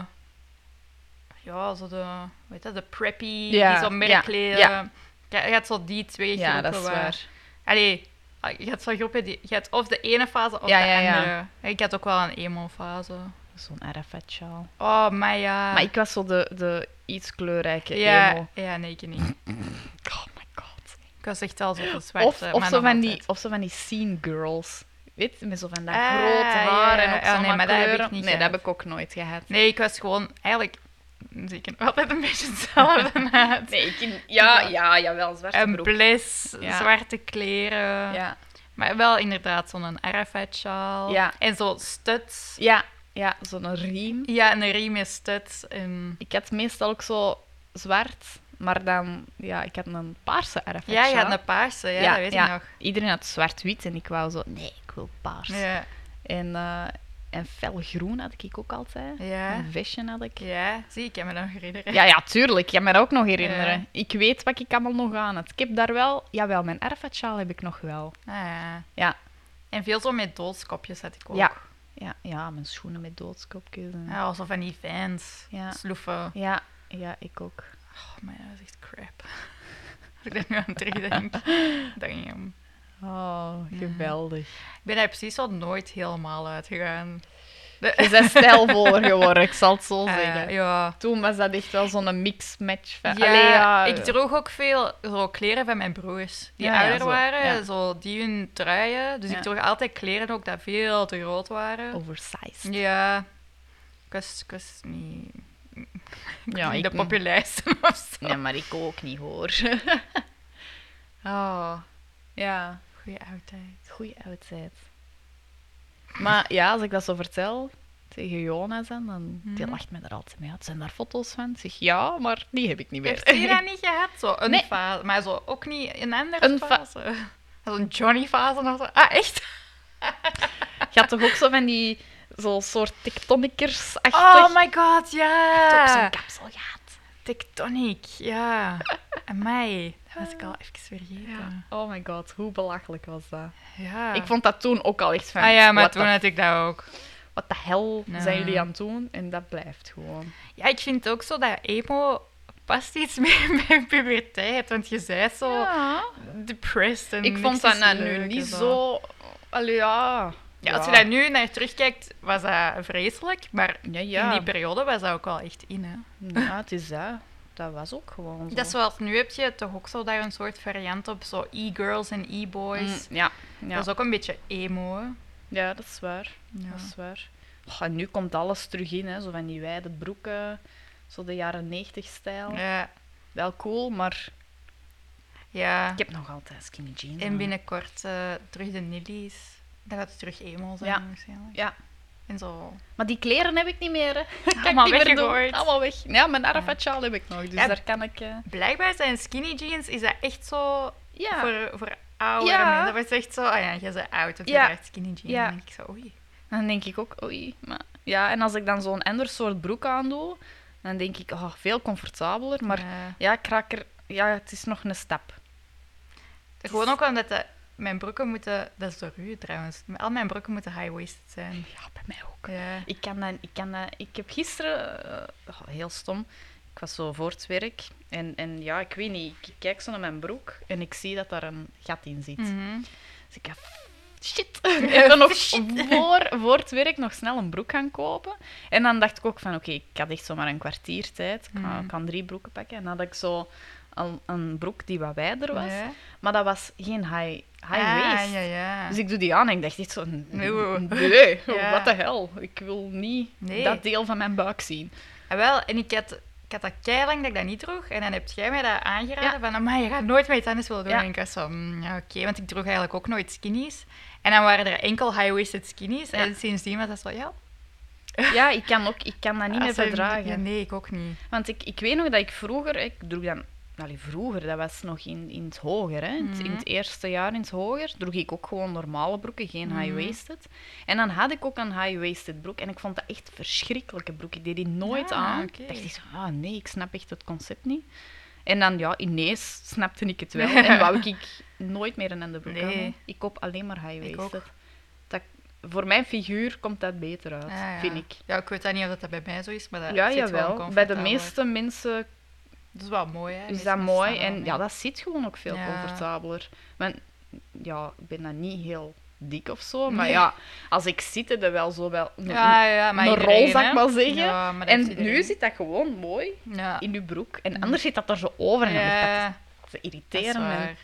S2: Ja, zo de... Weet dat, de preppy,
S3: Ja,
S2: die zo
S3: ja,
S2: merkkleden.
S3: ja.
S2: Je, je had zo die twee
S3: Ja,
S2: groepen
S3: dat is
S2: waar-
S3: waar.
S2: Allee, ah, je had zo'n groepen die... Je had of de ene fase of
S3: Ja,
S2: de
S3: ja, ja.
S2: andere. Ik had ook wel een emo-fase.
S3: Zo'n Arafat-sjaal.
S2: Oh, maar ja...
S3: Maar ik was zo de, de iets kleurrijke
S2: ja,
S3: emo.
S2: ja, nee, ik niet.
S3: Oh my god.
S2: Ik was echt al zo van zwart.
S3: Of, of, zo van die, of zo van die scene girls. Weet, met zo van dat
S2: Ah,
S3: grote haar
S2: ja,
S3: en op
S2: ja,
S3: zo'n
S2: nee, maar dat heb ik
S3: kleuren.
S2: niet
S3: Nee, dat
S2: gehad.
S3: heb ik ook nooit gehad.
S2: Nee, ik was gewoon... Eigenlijk zie ik er altijd een beetje hetzelfde uit.
S3: Nee, ik, ja, ja, jawel, zwarte
S2: Een bles,
S3: Ja.
S2: zwarte kleren.
S3: Ja,
S2: Maar wel inderdaad zo'n Arafat-sjaal.
S3: Ja.
S2: En zo studs.
S3: ja, ja zo'n riem.
S2: Ja, en een riem is studs. En...
S3: Ik had meestal ook zo zwart, maar dan, ja, ik had een paarse erf.
S2: Ja, je had een paarse, ja, dat weet ik nog.
S3: Iedereen had zwart-wit en ik wou zo, nee, ik wil paars.
S2: Ja,
S3: En, eh, en felgroen had ik ook altijd.
S2: ja,
S3: Een vestje had ik.
S2: ja. Zie, ik heb me nog herinneren.
S3: Mm. Ja, ja, tuurlijk. Ik kan me dat ook nog herinneren.
S2: Ja.
S3: Ik weet wat ik allemaal nog aan had. Ik heb daar wel... Jawel, mijn erfatsjaal heb ik nog wel.
S2: Ah, ja.
S3: Ja.
S2: En veel zo met doodskopjes had ik ook.
S3: Ja. Ja, ja mijn schoenen met doodskopjes. en-
S2: Ja, alsof van die fans.
S3: Ja.
S2: Sloeven.
S3: Ja, ja, ik ook.
S2: Oh, maar dat is echt crap. Als ik daar nu aan terugdenk, denk ik... mm.
S3: Oh, geweldig.
S2: Ik ben daar precies al nooit helemaal uitgegaan. De-
S3: Je bent stijlvoller geworden, ik zal het zo
S2: Eh,
S3: zeggen.
S2: ja.
S3: Toen was dat echt wel zo'n mix-match. Van...
S2: Ja,
S3: Allee, ja.
S2: ik droeg ook veel zo, kleren van mijn broers. Die
S3: Ja, ja,
S2: ouder
S3: zo,
S2: waren,
S3: ja.
S2: zo, die hun truien. Dus
S3: Ja. Oh,
S2: ik droeg altijd kleren ook dat veel te groot waren.
S3: Oversized.
S2: Ja, ik was, ik was niet,
S3: Ja,
S2: niet
S3: ik
S2: de populairste of zo.
S3: Nee, maar ik ook niet, hoor. oh, ja.
S2: Goeie oudheid.
S3: Goeie oudheid. Maar ja, als ik dat zo vertel tegen Jonas, en, dan die
S2: Mhm.
S3: lacht me er altijd mee uit. Zijn daar foto's van? Ik Zeg ja, maar die heb ik niet meer.
S2: Heeft je dat niet gehad? Zo een
S3: Nee.
S2: fase, maar zo ook niet een andere
S3: Een fa-
S2: fase. Zo'n Johnny-fase of zo. Ah, echt?
S3: Je had toch ook zo van die zo soort tectonicers-achtig?
S2: Oh my god,
S3: Je hebt ook
S2: ja!
S3: zo'n kapsel gehad.
S2: Tectonic, ja. En mij, dat was ik al even vergeten.
S3: Oh my god, hoe belachelijk was dat?
S2: Ja.
S3: Ik vond dat toen ook al echt van...
S2: Ah ja, maar
S3: what
S2: toen
S3: the-
S2: had ik dat ook.
S3: Wat de hel
S2: Nee.
S3: zijn jullie aan het doen? En dat blijft gewoon.
S2: Ja, ik vind ook zo dat emo past iets meer bij puberteit. Want je zei zo
S3: Oh,
S2: depressed en
S3: Ik vond
S2: niks
S3: dat
S2: is
S3: nou
S2: leuk
S3: nu
S2: en
S3: niet zo... Allee, ja.
S2: Ja, als je daar nu naar terugkijkt, was dat vreselijk. Maar
S3: Ja, ja.
S2: in die periode was dat ook wel echt in, hè.
S3: Ja, Ah, het is dat. Dat was ook gewoon zo.
S2: Dat is zoals nu heb je toch ook zo daar een soort variant op. Zo e-girls en e-boys.
S3: Mm, ja, ja.
S2: Dat is ook een beetje emo, hè.
S3: ja, dat is waar.
S2: Ja.
S3: Dat is waar. Och, en nu komt alles terug in, hè. zo van die wijde broeken, zo de jaren 90 stijl.
S2: Ja,
S3: Wel cool, maar
S2: ja.
S3: ik heb nog altijd skinny jeans.
S2: En
S3: aan.
S2: binnenkort eh, terug de Nillies. Dan gaat het terug emo zijn
S3: Ja.
S2: waarschijnlijk.
S3: Ja,
S2: En zo.
S3: Maar die kleren heb ik niet meer. Hè. Kan ik
S2: Allemaal
S3: niet meer doen.
S2: weggegooid.
S3: Allemaal weg. Ja, mijn Arafat-sjaal heb ik nog, dus
S2: Ja.
S3: daar kan ik... eh,
S2: Blijkbaar zijn skinny jeans is dat echt zo
S3: Ja.
S2: voor, voor oude
S3: Ja.
S2: mensen. Dat was echt zo, ah ja, jij bent oud, want
S3: Ja.
S2: je draagt skinny jeans.
S3: Ja.
S2: Dan denk ik zo, oei.
S3: Dan denk ik ook, oei. Maar... Ja, en als ik dan zo'n ander soort broek aandoe, dan denk ik, oh, veel comfortabeler. Maar
S2: Eh,
S3: ja, ik raak er... Ja, het is nog een stap.
S2: gewoon ook omdat de- mijn broeken moeten, dat is door u trouwens, al mijn broeken moeten high-waisted zijn.
S3: Ja, bij mij ook.
S2: Ja.
S3: Ik kan dat... Ik, kan dat, ik heb gisteren... eh, oh, heel stom. Ik was zo voor het werk. En, en ja, ik weet niet. Ik kijk zo naar mijn broek en ik zie dat daar een gat in zit.
S2: Mhm.
S3: Dus ik dacht, shit. En dan nog voor, voor het werk nog snel een broek gaan kopen. En dan dacht ik ook van, oké, ik had echt zomaar een kwartier tijd. Ik kan,
S2: Mm.
S3: ik kan drie broeken pakken. En dan had ik zo een, een broek die wat wijder was.
S2: Ja.
S3: Maar dat was geen high, high
S2: Ah,
S3: waist.
S2: Ja, ja.
S3: Dus ik doe die aan en ik dacht echt zo, n-
S2: Nee, wow.
S3: nee,
S2: Ja.
S3: wat de hel. Ik wil niet
S2: Nee.
S3: dat deel van mijn buik zien.
S2: Ah, wel, en ik had, ik had dat keilang dat ik dat niet droeg. En dan heb jij mij dat aangeraden van, maar je gaat nooit mee tennis willen doen.
S3: Ja.
S2: En ik was zo, "Mm, ja, oké, want ik droeg eigenlijk ook nooit skinnies. En dan waren er enkel high-waisted skinnies. En sindsdien was dat zo, ja.
S3: Ja, ik kan, ook, ik kan dat niet meer
S2: als we-
S3: verdragen.
S2: Ja, nee, ik ook niet.
S3: Want ik, ik weet nog dat ik vroeger, ik droeg dan, allee, vroeger, dat was nog in, in het hoger, hè? In het- in
S2: Mhm.
S3: het eerste jaar in het hoger, droeg ik ook gewoon normale broeken, geen
S2: Mhm.
S3: high-waisted. En dan had ik ook een high-waisted broek en ik vond dat echt verschrikkelijke broek. Ik deed die nooit
S2: Ah,
S3: aan.
S2: oké.
S3: Ik dacht echt, zo, ah nee, ik snap echt het concept niet. En dan, ja, ineens snapte ik het wel en wou ik nooit meer een andere broek
S2: Nee.
S3: aan. Ik koop alleen maar high-waisted.
S2: ook.
S3: Dat, voor mijn figuur komt dat beter uit,
S2: Ah, ja.
S3: vind ik.
S2: Ja, ik weet dat niet of dat bij mij zo is, maar dat
S3: Ja,
S2: zit
S3: jawel.
S2: gewoon
S3: Bij de
S2: comfortabel.
S3: meeste mensen
S2: Dat is wel mooi, hè.
S3: is
S2: Meestal
S3: dat mooi.
S2: staan
S3: En
S2: wel
S3: ja,
S2: mee.
S3: dat zit gewoon ook veel
S2: Ja.
S3: comfortabeler. Want ja, ik ben dan niet heel dik of zo. Maar
S2: Nee.
S3: ja, als ik zit, is dat wel zo wel een,
S2: Ja, ja, maar
S3: een
S2: iedereen,
S3: rol, zou
S2: hè.
S3: ik maar zeggen.
S2: Ja, maar dat
S3: en
S2: heeft iedereen.
S3: nu zit dat gewoon mooi
S2: Ja. Mhm.
S3: in uw broek. En anders zit dat er zo over. En dan
S2: Ja,
S3: ligt dat te
S2: dat is
S3: irriteren.
S2: waar.
S3: En-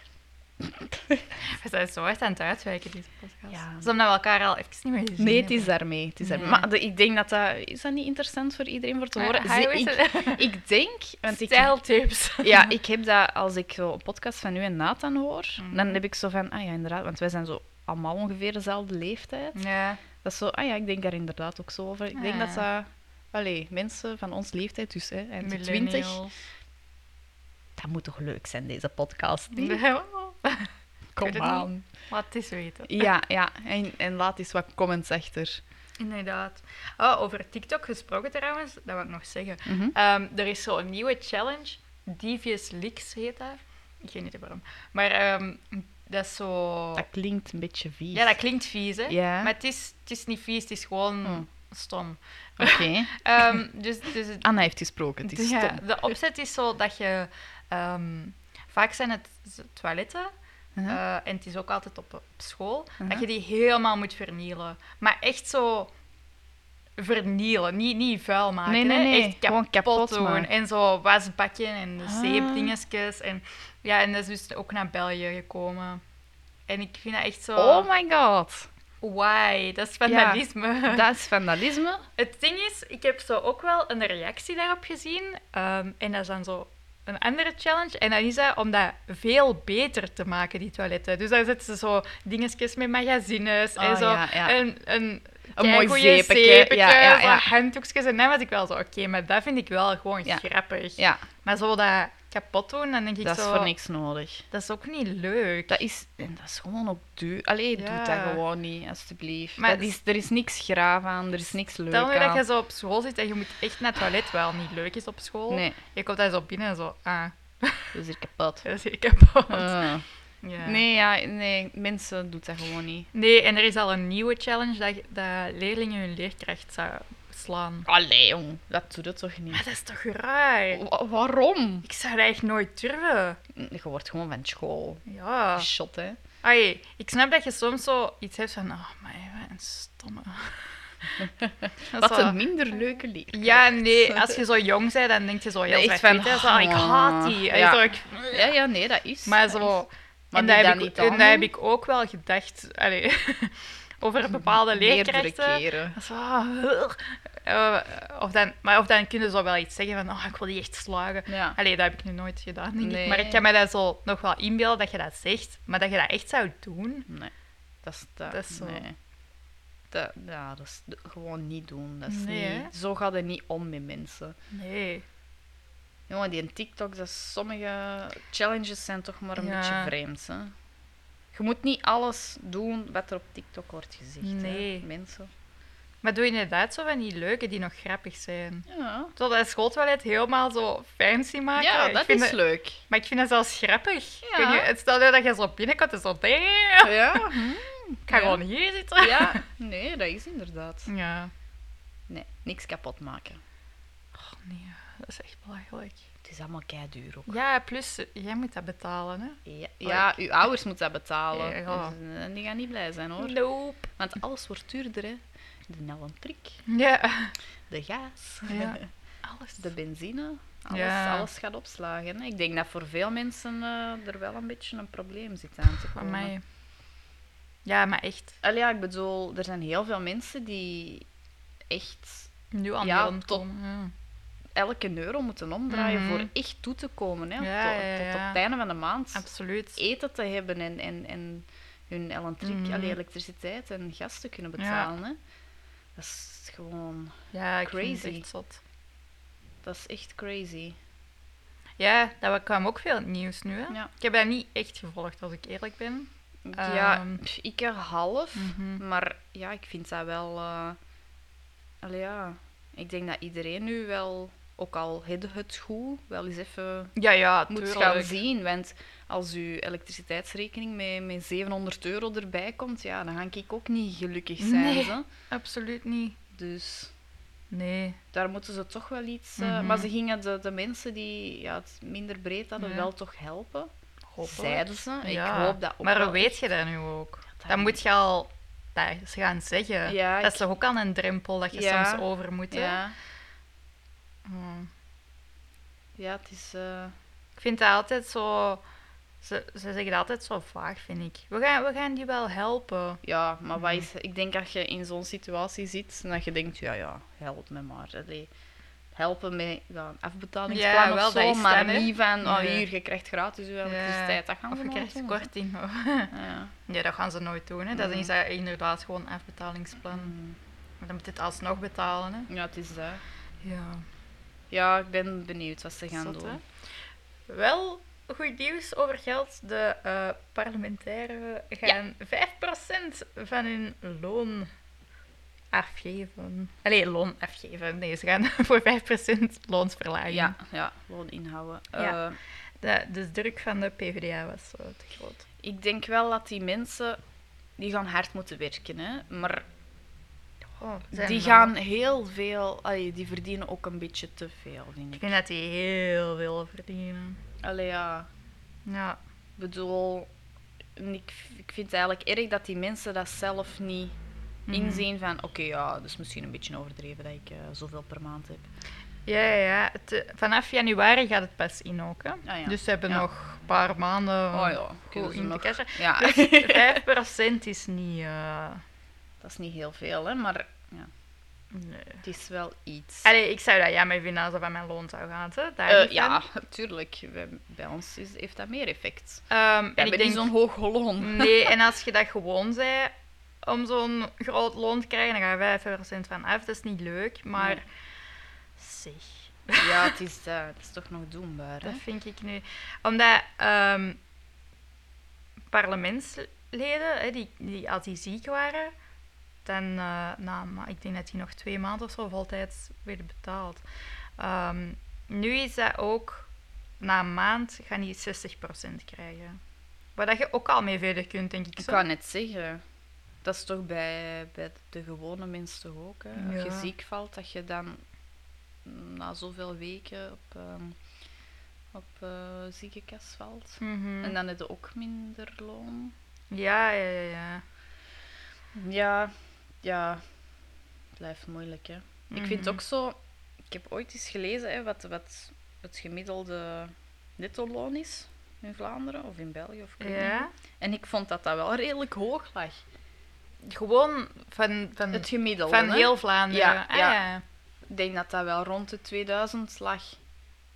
S2: We zijn zo hard aan het uitwijken, deze podcast.
S3: Ja.
S2: Dat is omdat we elkaar al even niet meer gezien
S3: Nee, het
S2: hebben.
S3: is daarmee. Het is daarmee.
S2: Nee.
S3: Maar de- ik denk dat dat... Is dat niet interessant voor iedereen voor te
S2: Maar
S3: horen?
S2: hij
S3: Ze-
S2: weet
S3: ik,
S2: het.
S3: ik denk... Want ik,
S2: Stijltips.
S3: Ja, ik heb dat als ik zo een podcast van u en Nathan hoor,
S2: Mhm.
S3: dan heb ik zo van, ah ja, inderdaad, want wij zijn zo allemaal ongeveer dezelfde leeftijd.
S2: Ja.
S3: Dat is zo, ah ja, ik denk daar inderdaad ook zo over. Ik denk dat
S2: Ja.
S3: dat, allee, mensen van ons leeftijd, dus hè, eind de 20,
S2: millennials.
S3: dat moet toch leuk zijn, deze podcast? niet?
S2: Oh. weet
S3: Kom
S2: het
S3: aan.
S2: Wat is weten.
S3: Ja, ja, en, en laat eens wat comments achter.
S2: Inderdaad. Oh, over TikTok gesproken trouwens, dat wil ik nog zeggen.
S3: Mhm.
S2: Ehm, er is zo'n nieuwe challenge, Devious Leaks heet dat. Ik weet niet waarom. Maar ehm, dat is zo...
S3: Dat klinkt een beetje vies.
S2: Ja, Oh. dat klinkt vies, hè?
S3: Ja.
S2: Maar het is, het is niet vies, het is gewoon
S3: Hmm.
S2: stom.
S3: Oké.
S2: Ehm, dus, dus het-
S3: Anna heeft gesproken, Ah, het is
S2: ja,
S3: stom.
S2: De opzet is zo dat je... ehm, vaak zijn het z- toiletten,
S3: Mhm.
S2: eh, en het is ook altijd op, op school,
S3: Mhm.
S2: dat je die helemaal moet vernielen. Maar echt zo vernielen, niet, niet vuil maken.
S3: Nee, nee,
S2: hè.
S3: nee,
S2: Echt
S3: gewoon
S2: kapot,
S3: kapot
S2: doen.
S3: maken.
S2: En zo wasbakken en
S3: Ah.
S2: zeepdingetjes. En, ja, en dat is dus ook naar België gekomen. En ik vind dat echt zo...
S3: Oh my god,
S2: Why? Dat is vandalisme.
S3: dat is vandalisme.
S2: Het ding is, ik heb zo ook wel een reactie daarop gezien. ehm, en dat is dan zo een andere challenge. En dan is dat om dat veel beter te maken, die toiletten. Dus daar zetten ze zo dingetjes met magazines en
S3: Ah,
S2: zo.
S3: ja, ja.
S2: Een, een,
S3: Een mooi
S2: keigoeie
S3: zeepje, ja, ja,
S2: zo
S3: ja.
S2: handdoekjes. En dan was ik wel zo, oké, maar dat vind ik wel gewoon
S3: Ja.
S2: grappig.
S3: Ja,
S2: Maar zo dat kapot doen, dan denk ik
S3: dat is
S2: zo...
S3: voor niks nodig.
S2: Dat is ook niet leuk.
S3: Dat is, en dat is gewoon ook duur. Allee, doe dat
S2: Ja.
S3: gewoon niet, alstublieft.
S2: Maar
S3: Dat is, er is niks graaf aan, er is niks leuk
S2: Stel nu
S3: aan.
S2: dat je zo op school zit en je moet echt naar het toilet, wel niet leuk is op school.
S3: Nee,
S2: Je komt daar zo binnen en zo, ah,
S3: dat is hier kapot.
S2: dat is hier kapot.
S3: Ah.
S2: Eh, Ja.
S3: Nee, ja, nee, mensen doen dat gewoon niet.
S2: Nee, en er is al een nieuwe challenge dat, dat leerlingen hun leerkracht zou slaan.
S3: Allee, jong, dat doet het toch
S2: Maar
S3: niet?
S2: dat is toch raar?
S3: Wa- waarom?
S2: Ik zou dat echt nooit durven.
S3: Je wordt gewoon van school.
S2: Ja.
S3: Shot, hè.
S2: Ai, ik snap dat je soms zo iets hebt van, oh, maar wat een stomme. Dat is
S3: Wat
S2: zo-
S3: een minder leuke leer.
S2: Ja, nee, als je zo jong bent, dan denk je zo heel
S3: Nee, echt
S2: zwart-wit,
S3: van,
S2: hè, zo, "Ah, ik haat die. En
S3: ja.
S2: zo, ik-
S3: Ja, ja, nee, dat is.
S2: Maar
S3: dat
S2: zo...
S3: is. Maar
S2: En
S3: doe
S2: dat
S3: dat
S2: heb,
S3: niet
S2: ik,
S3: dan,
S2: en dat
S3: hè.
S2: heb ik ook wel gedacht allee, over bepaalde
S3: Meerdere
S2: leerkrachten.
S3: keren.
S2: Dat is wel, "Ugh." Eh, of dan, maar of dan kunnen ze wel iets zeggen van, oh, ik wil die echt slagen.
S3: Ja.
S2: Allee, dat heb ik nu nooit gedaan, denk
S3: Nee.
S2: ik. Maar ik kan me dat zo nog wel inbeelden dat je dat zegt, maar dat je dat echt zou doen.
S3: Nee, dat is, dat,
S2: Dat is zo.
S3: nee. Dat, ja, dat is d- gewoon niet doen. Dat is
S2: Nee, hè?
S3: niet, zo gaat het niet om met mensen.
S2: Nee.
S3: Jongen, die TikTok, dat is- sommige challenges zijn toch maar een
S2: Ja.
S3: beetje vreemd. Hè? Je moet niet alles doen wat er op TikTok wordt gezegd. hè,
S2: Nee.
S3: mensen.
S2: Maar doe inderdaad zo van die leuke die nog grappig zijn.
S3: Ja,
S2: Zo dat schooltoilet helemaal zo fancy maken.
S3: ja
S2: Ik
S3: dat
S2: vind
S3: is leuk.
S2: Maar ik vind dat zelfs grappig.
S3: Ja.
S2: Ik weet niet, het stel je dat je zo binnenkomt en zo... "Damn,
S3: Ja.
S2: Ik ga
S3: Ja.
S2: gewoon hier zitten.
S3: ja, nee, dat is inderdaad.
S2: Ja.
S3: Nee, niks kapot maken.
S2: Oh, Nee, dat is echt belachelijk.
S3: Het is allemaal keiduur ook.
S2: Ja, plus eh, jij moet dat betalen, hè?
S3: Ja, ja uw ouders moeten dat betalen.
S2: Ja.
S3: Dus, eh, die gaan niet blij zijn hoor.
S2: Nope.
S3: Want alles wordt duurder, hè. De nellenprik,
S2: Ja.
S3: de gas,
S2: Ja. Alles.
S3: de benzine. Alles,
S2: Ja.
S3: alles gaat opslagen. Hè. Ik denk dat voor veel mensen eh, er wel een beetje een probleem zit aan te
S2: Van
S3: komen.
S2: mij. Ja, maar echt.
S3: Allee, ja, ik bedoel, er zijn heel veel mensen die echt
S2: Nu aan
S3: Ja,
S2: de hand
S3: tot-
S2: komen, ja.
S3: elke euro moeten omdraaien
S2: Mhm.
S3: voor echt toe te komen. Hè.
S2: Ja,
S3: tot,
S2: ja,
S3: tot
S2: ja.
S3: op het einde van de maand
S2: Absoluut.
S3: eten te hebben en, en, en hun elektric,
S2: Mhm.
S3: allee, elektriciteit en gas te kunnen betalen. Hè. Dat is gewoon...
S2: Ja, ik vind het
S3: Crazy.
S2: echt zot.
S3: Dat is echt crazy.
S2: Ja, dat kwam ook veel in het nieuws nu, hè?
S3: Ja.
S2: Ik heb dat niet echt gevolgd, als ik eerlijk ben.
S3: Ja,
S2: Ehm.
S3: pff, ik er half.
S2: Mhm.
S3: Maar ja, ik vind dat wel... eh, allee, ja. Ik denk dat iedereen nu wel, ook al het het goed, wel eens even
S2: Ja, ja,
S3: moet gaan zien. Want als uw elektriciteitsrekening met, met 700 euro erbij komt, ja, dan ga ik ook niet gelukkig zijn.
S2: Nee.
S3: hè.
S2: Absoluut niet.
S3: Dus...
S2: Nee.
S3: daar moeten ze toch wel iets. eh,
S2: Mhm.
S3: Maar ze gingen de, de mensen die ja, het minder breed hadden
S2: Ja.
S3: wel toch helpen.
S2: Hopelijk.
S3: Zeiden ze.
S2: Ja,
S3: Ik hoop dat ook.
S2: Maar
S3: wel
S2: hoe weet
S3: echt.
S2: je dat nu ook?
S3: dat
S2: Dan
S3: moet-
S2: moet je al dat eens gaan zeggen.
S3: Ja,
S2: dat is
S3: ik-
S2: toch ook al een drempel dat je
S3: Ja.
S2: soms over moet. hè?
S3: Ja,
S2: Hmm.
S3: ja het is. eh,
S2: Ik vind dat altijd zo. Ze, ze zeggen dat altijd zo vaag, vind ik. We gaan, we gaan die wel helpen.
S3: ja, maar
S2: Mhm.
S3: wat is, ik denk dat je in zo'n situatie zit en dat je denkt: ja, ja, help me maar. Allee, helpen met ja, een afbetalingsplan
S2: Ja,
S3: of
S2: wel,
S3: zo,
S2: dat is
S3: maar
S2: dat, hè.
S3: niet van: oh,
S2: Nee.
S3: hier, je krijgt gratis uw elektriciteit. Dat gaan
S2: Of
S3: ze
S2: je
S3: nooit
S2: krijgt
S3: doen.
S2: korting.
S3: Ja.
S2: Ja, dat gaan ze nooit doen. Hè. Dat
S3: Mm.
S2: is eh, inderdaad gewoon een afbetalingsplan. Maar dan moet je het alsnog betalen. Hè.
S3: ja, het is dat.
S2: Ja.
S3: Ja, ik ben benieuwd wat ze gaan
S2: Zot,
S3: doen.
S2: hè? Wel goed nieuws over geld. De eh, parlementairen gaan 5% van hun loon afgeven. Allee, loon afgeven. Nee, ze gaan voor 5% loonsverlaging.
S3: Ja, ja, loon inhouden.
S2: Ah, Ja.
S3: Eh,
S2: De, de druk van de PvdA was zo te groot.
S3: ik denk wel dat die mensen die gaan hard moeten werken, hè? maar
S2: Oh,
S3: die gaan heel veel, allee, die verdienen ook een beetje te veel, vind
S2: Ik
S3: ik.
S2: vind dat die heel veel verdienen.
S3: Allee, ja,
S2: Ja.
S3: ik bedoel, ik, ik vind het eigenlijk erg dat die mensen dat zelf niet
S2: Mhm.
S3: inzien van, oké, ja, dat is misschien een beetje overdreven dat ik eh, zoveel per maand heb.
S2: Ja, ja, ja. Het, eh, vanaf januari gaat het pas in ook. Hè?
S3: Ah, ja.
S2: Dus ze hebben
S3: Ja.
S2: nog een paar maanden
S3: Oh ja, kunnen
S2: goed in
S3: ze
S2: te
S3: nog- Ah.
S2: cashen. Dus
S3: Ja,
S2: 5% is niet. eh,
S3: dat is niet heel veel, hè, maar ja,
S2: nee.
S3: het is wel iets.
S2: Allee, ik zou dat jammer vinden als dat bij mijn loon zou gaan. Hè? Daar
S3: Eh,
S2: niet van.
S3: ja, tuurlijk. Bij, bij ons is, heeft dat meer effect.
S2: Ehm,
S3: En
S2: en ik denk. Mm.
S3: zo'n hoog loon.
S2: Nee, en als je dat gewoon zei om zo'n groot loon te krijgen, dan ga je 5% van af. Dat is niet leuk, maar.
S3: Nee.
S2: Zeg.
S3: Ja, het is, eh, het is toch nog doenbaar. Hè?
S2: Dat vind ik nu. Omdat ehm, parlementsleden, hè, die, die, als die ziek waren, dan, eh, nou, maar ik denk dat die nog twee maanden of zo voltijds werden betaald. Ehm, nu is dat ook, na een maand gaan die 60% krijgen. Waar dat je ook al mee verder kunt, denk ik.
S3: Ik
S2: zo.
S3: kan het zeggen. Dat is toch bij, bij de gewone mens toch ook. Hè? Als
S2: Ja.
S3: je ziek valt, dat je dan na zoveel weken op, ehm op eh, ziekenkast valt.
S2: Mhm.
S3: En dan heb je ook minder loon.
S2: Ja, ja, ja, ja.
S3: Ja, ja. Blijft moeilijk, hè. Ik vind
S2: Mhm.
S3: het ook zo... Ik heb ooit eens gelezen hè, wat, wat het gemiddelde netto-loon is in Vlaanderen of in België. Of ik weet niet.
S2: Ja.
S3: En ik vond dat dat wel redelijk hoog lag.
S2: Gewoon van, van,
S3: Het gemiddelde.
S2: van
S3: hè.
S2: heel Vlaanderen.
S3: Ja,
S2: Ah,
S3: ja.
S2: ja.
S3: Ik denk dat dat wel rond de 2000 lag.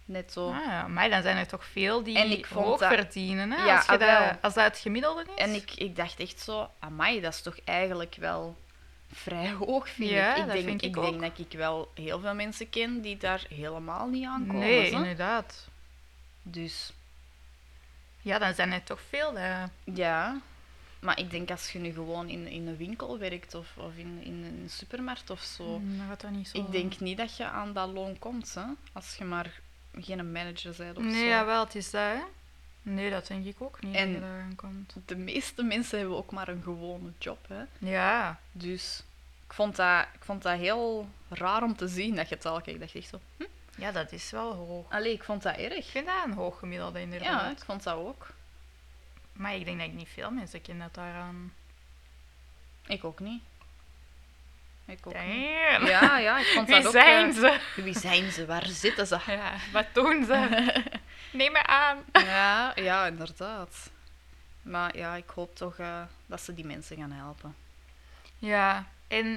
S3: Netto.
S2: Ah, ja, maar dan zijn er toch veel die
S3: En ik vond
S2: hoog
S3: dat-
S2: verdienen. Hè?
S3: Ja,
S2: als, je
S3: ah, wel.
S2: dat, als dat het gemiddelde is.
S3: En ik, ik dacht echt zo, amai, dat is toch eigenlijk wel vrij hoog, vind
S2: Ja,
S3: ik. Ik,
S2: dat
S3: denk,
S2: vind ik
S3: denk
S2: ook.
S3: dat ik wel heel veel mensen ken die daar helemaal niet aan komen.
S2: Nee,
S3: zo.
S2: inderdaad.
S3: Dus
S2: Ja, dan zijn er toch veel. eh,
S3: ja. Maar ik denk als je nu gewoon in, in een winkel werkt of, of in, in een supermarkt of zo.
S2: mm, dat gaat dat niet zo.
S3: Ik denk niet dat je aan dat loon komt, hè? als je maar geen manager bent of zo.
S2: Nee, jawel, het is dat, hè? Nee, dat denk ik ook niet.
S3: En-
S2: Dat je daaraan komt.
S3: De meeste mensen hebben ook maar een gewone job. Hè?
S2: Ja,
S3: Dus ik vond, dat, ik vond dat heel raar om te zien dat je het al kijkt. Ik dacht echt zo.
S2: ja, dat is wel hoog.
S3: Allee, ik vond dat erg.
S2: Ik vind dat een hoog gemiddelde,
S3: Ja,
S2: inderdaad.
S3: ik vond dat ook.
S2: Maar ik denk dat ik niet veel mensen ken dat daaraan.
S3: Ik ook niet. Ik ook niet.
S2: Damn.
S3: Ja, ja, ik vond dat
S2: Wie
S3: ook.
S2: zijn
S3: eh,
S2: ze?
S3: Wie zijn ze? Waar zitten ze?
S2: Ja, wat doen ze? Neem me aan.
S3: Ja, ja, inderdaad. Maar ja, ik hoop toch eh, dat ze die mensen gaan helpen.
S2: Ja, en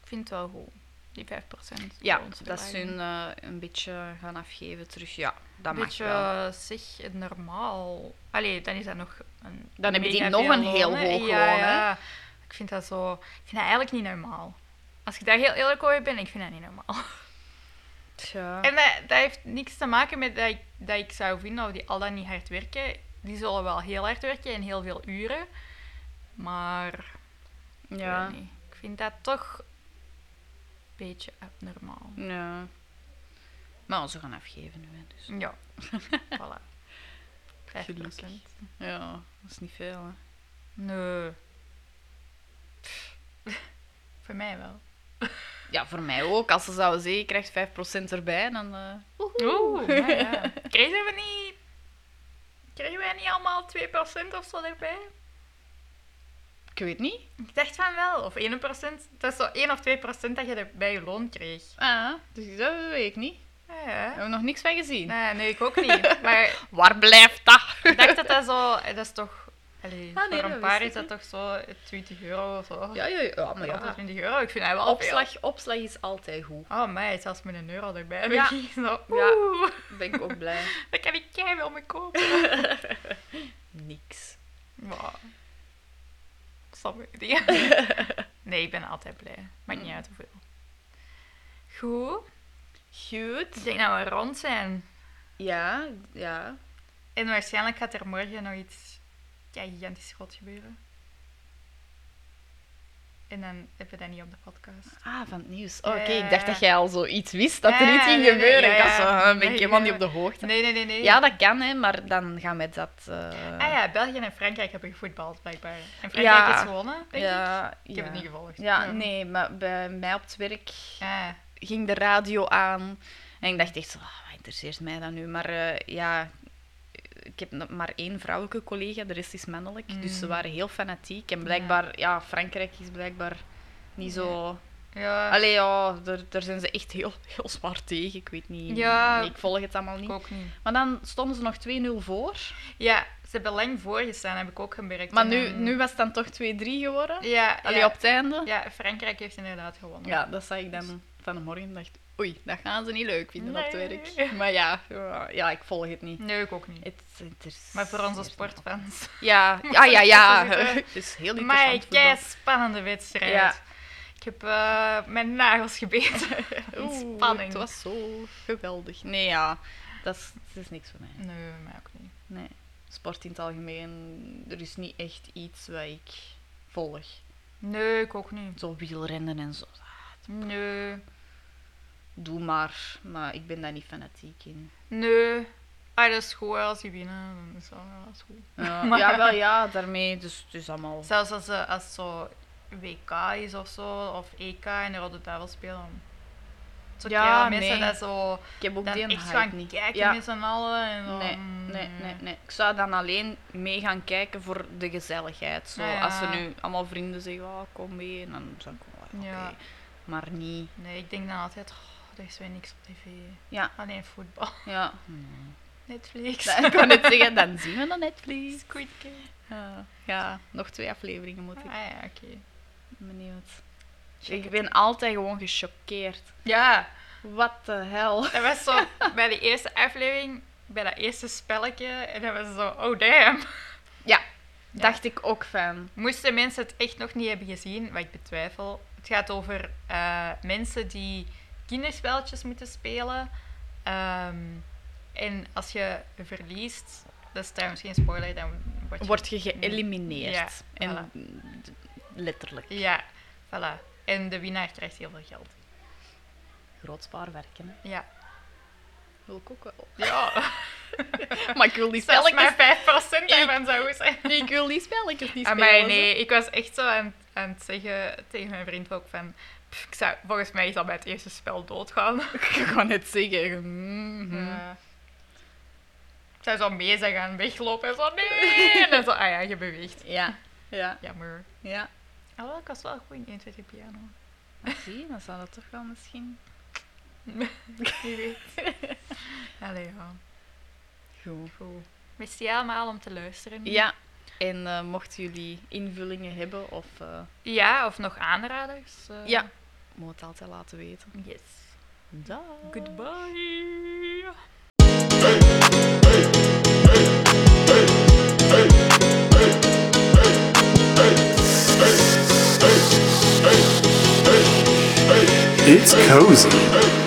S2: ik vind het wel goed. Die 5%
S3: Ja,
S2: voor ons
S3: dat ze hun
S2: belasting.
S3: eh, een beetje gaan afgeven terug. Ja, dat
S2: Een
S3: mag
S2: beetje
S3: wel.
S2: eh, zich normaal. Allee, dan is dat nog een.
S3: Dan hebben die
S2: mega
S3: nog
S2: veel
S3: een heel
S2: loon, hè.
S3: hoog
S2: ja,
S3: loon, hè.
S2: Ja. Ik vind dat zo. Ik vind dat eigenlijk niet normaal. Als ik daar heel eerlijk over ben, ik vind dat niet normaal.
S3: Tja.
S2: En dat, dat heeft niks te maken met dat ik, dat ik zou vinden of die al dan niet hard werken. Die zullen wel heel hard werken en heel veel uren. Maar
S3: ja.
S2: Ik, weet niet. ik vind dat toch een beetje abnormaal.
S3: ja. Maar ze gaan afgeven nu, hè, dus.
S2: Ja, voilà. 5%.
S3: Gelukkig. Ja, dat is niet veel, hè.
S2: Nee. Pff, Voor mij wel.
S3: Ja, voor mij ook. Als ze zouden zeggen, je krijgt 5% erbij, dan... eh,
S2: Oeh, ja, ja. Kregen we niet... Kregen wij niet allemaal 2% of zo erbij?
S3: ik weet niet.
S2: Ik dacht van wel. Of 1%. Dat is zo 1 of 2% dat je er bij je loon kreeg.
S3: Ah, dus dat weet ik niet.
S2: Ja, ja.
S3: Hebben we nog niks van gezien.
S2: Nee, nee, ik ook niet. Maar
S3: Waar blijft dat?
S2: Ik dacht dat dat zo... eh, Dat is toch... Allee,
S3: Ah, nee,
S2: voor een
S3: dat
S2: paar
S3: wist
S2: is dat
S3: ik
S2: toch zo 20 euro of zo.
S3: Ja, ja, ja, maar ja.
S2: 28 euro, ik vind dat wel veel.
S3: Opslag, opslag is altijd goed.
S2: Oh mij, zelfs met een euro erbij.
S3: Ja.
S2: Ja. Zo,
S3: Ja.
S2: oeh,
S3: Ben ik ook blij.
S2: dan kan ik keihard om me kopen.
S3: Niks.
S2: Wow. Samme dingen. Nee, ik ben altijd blij. Maakt niet uit hoeveel. Goed.
S3: Goed.
S2: Ik denk dat we rond zijn.
S3: Ja, ja.
S2: En waarschijnlijk gaat er morgen nog iets ja, gigantisch groot gebeuren. En dan hebben we dat niet op de podcast.
S3: Ah, van het nieuws.
S2: Ja,
S3: Oké,
S2: ja,
S3: ik dacht
S2: ja.
S3: dat jij al zoiets wist dat er
S2: Ja,
S3: iets ging
S2: nee, nee,
S3: gebeuren.
S2: ja,
S3: Ik dacht
S2: ja.
S3: zo, huh, ben
S2: Nee,
S3: ik helemaal
S2: nee,
S3: niet op de hoogte.
S2: Nee, nee, nee, nee.
S3: Ja, dat kan, hè, maar dan gaan we dat... eh,
S2: Ah ja, België en Frankrijk hebben gevoetbald, blijkbaar. En Frankrijk
S3: Ja.
S2: is gewonnen, denk ik.
S3: ja,
S2: Ik
S3: ja.
S2: heb het niet gevolgd.
S3: Ja, nee, maar bij mij op het werk
S2: Ah,
S3: ging de radio aan. En ik dacht echt zo, ah, wat interesseert mij dat nu? Maar eh, ja, ik heb nog maar één vrouwelijke collega, de rest is mannelijk. Dus ze
S2: Mm.
S3: waren heel fanatiek. En blijkbaar, ja, Frankrijk is blijkbaar niet zo...
S2: ja,
S3: Allee, ja, daar, daar zijn ze echt heel, heel zwaar tegen. Ik weet niet.
S2: Ja.
S3: Ik volg het allemaal
S2: ik
S3: niet.
S2: ook niet.
S3: Maar dan stonden ze nog 2-0 voor.
S2: Ja, ze hebben lang voorgestaan, heb ik ook gemerkt.
S3: Maar
S2: En
S3: nu,
S2: dan-
S3: nu was het dan toch 2-3 geworden.
S2: Ja,
S3: Allee,
S2: ja,
S3: op het einde. Ja.
S2: ja, Frankrijk heeft inderdaad gewonnen.
S3: dat zag ik dan vanmorgen. en dacht, oei, dat gaan ze niet leuk vinden op het
S2: Nee.
S3: werk. Maar ja, ja, ja, ik volg het niet.
S2: Nee, ik ook niet.
S3: Het is interessant.
S2: Maar voor onze sportfans.
S3: Ja, ja, ja, ja.
S2: Moet er niet tussen
S3: Het is heel
S2: Maar
S3: interessant.
S2: kei
S3: voetbal.
S2: spannende wedstrijd.
S3: Ja.
S2: Ik heb eh, mijn nagels gebeten.
S3: Oeh,
S2: Spanning.
S3: Het was zo geweldig. Nee, ja. Dat is, dat is niks voor mij.
S2: Nee, mij ook niet.
S3: Nee, sport in het algemeen, er is niet echt iets wat ik volg.
S2: Nee, ik ook niet.
S3: Zo wielrennen en zo.
S2: Nee.
S3: Doe maar, maar ik ben daar niet fanatiek in.
S2: Nee. Ah, dat is goed. Als die winnen, dan is dat wel goed.
S3: Ja, Eh, ja, wel ja, daarmee, dus het is allemaal.
S2: Zelfs als, eh, als zo WK is of zo, of EK en de Rode Duivel spelen. Zo
S3: Ja,
S2: ja, mensen
S3: nee.
S2: dat zo
S3: Ik heb ook
S2: dan
S3: die
S2: echt
S3: hype
S2: gaan
S3: niet.
S2: kijken
S3: ja.
S2: met z'n allen. En zo.
S3: Nee,
S2: mm.
S3: nee, nee, nee. Ik zou dan alleen mee gaan kijken voor de gezelligheid. Zo,
S2: Ah, ja.
S3: Als ze nu allemaal vrienden zeggen, oh, kom mee, en dan zou ik wel, ja, oké.
S2: Ja.
S3: Maar niet,
S2: Nee, ik denk dan altijd, oh, er is weer niks op tv.
S3: Ja.
S2: Alleen voetbal.
S3: ja.
S2: Netflix.
S3: Dan, ik kan het zeggen, dan zien we dan Netflix.
S2: Squid Game.
S3: Ja, ja, nog twee afleveringen moet
S2: Ah
S3: ik.
S2: ja, oké.
S3: Benieuwd. Ik ben altijd gewoon gechoqueerd.
S2: Ja,
S3: Wat de hel.
S2: dat was zo bij de eerste aflevering, bij dat eerste spelletje. En dat was zo, oh damn.
S3: Ja, Dacht ik ook van.
S2: Moesten mensen het echt nog niet hebben gezien, wat ik betwijfel. Het gaat over eh, mensen die kinderspelletjes moeten spelen. Ehm, en als je verliest, dat is trouwens geen spoiler, dan word je...
S3: Word je geëlimineerd.
S2: Ja,
S3: en d- letterlijk.
S2: Ja, voilà. En de winnaar krijgt heel veel geld.
S3: Groot spaarwerken. Hè.
S2: Ja.
S3: Wil ik ook wel.
S2: Ja,
S3: Maar ik wil die
S2: zelfs
S3: spelletjes,
S2: maar 5%
S3: Ik-
S2: daarvan zou zijn.
S3: nee, ik wil die spelletjes niet spelen.
S2: Maar
S3: zo.
S2: nee, ik was echt zo aan, aan het zeggen tegen mijn vriend ook van... "Pff, ik zou, volgens mij zal bij het eerste spel doodgaan.
S3: Ik wou net zeggen. mhm.
S2: Ja. Ik zou zo mee zijn gaan weglopen en zo nee! En dan zo, ah ja, je beweegt.
S3: Ja, ja,
S2: Jammer.
S3: ja.
S2: Alhoewel, ik was wel goed in 1, 2, 3 piano.
S3: Ah, Zie je, dan zou dat toch wel misschien...
S2: Wie weet. Allee, ja.
S3: Goed.
S2: Goed. Merci allemaal om te luisteren.
S3: Ja, en eh, mochten jullie invullingen hebben of... eh
S2: Ja, of nog aanraders. eh,
S3: ja, moet het altijd laten weten.
S2: Yes.
S3: Dag.
S2: Goodbye.
S1: It's cozy.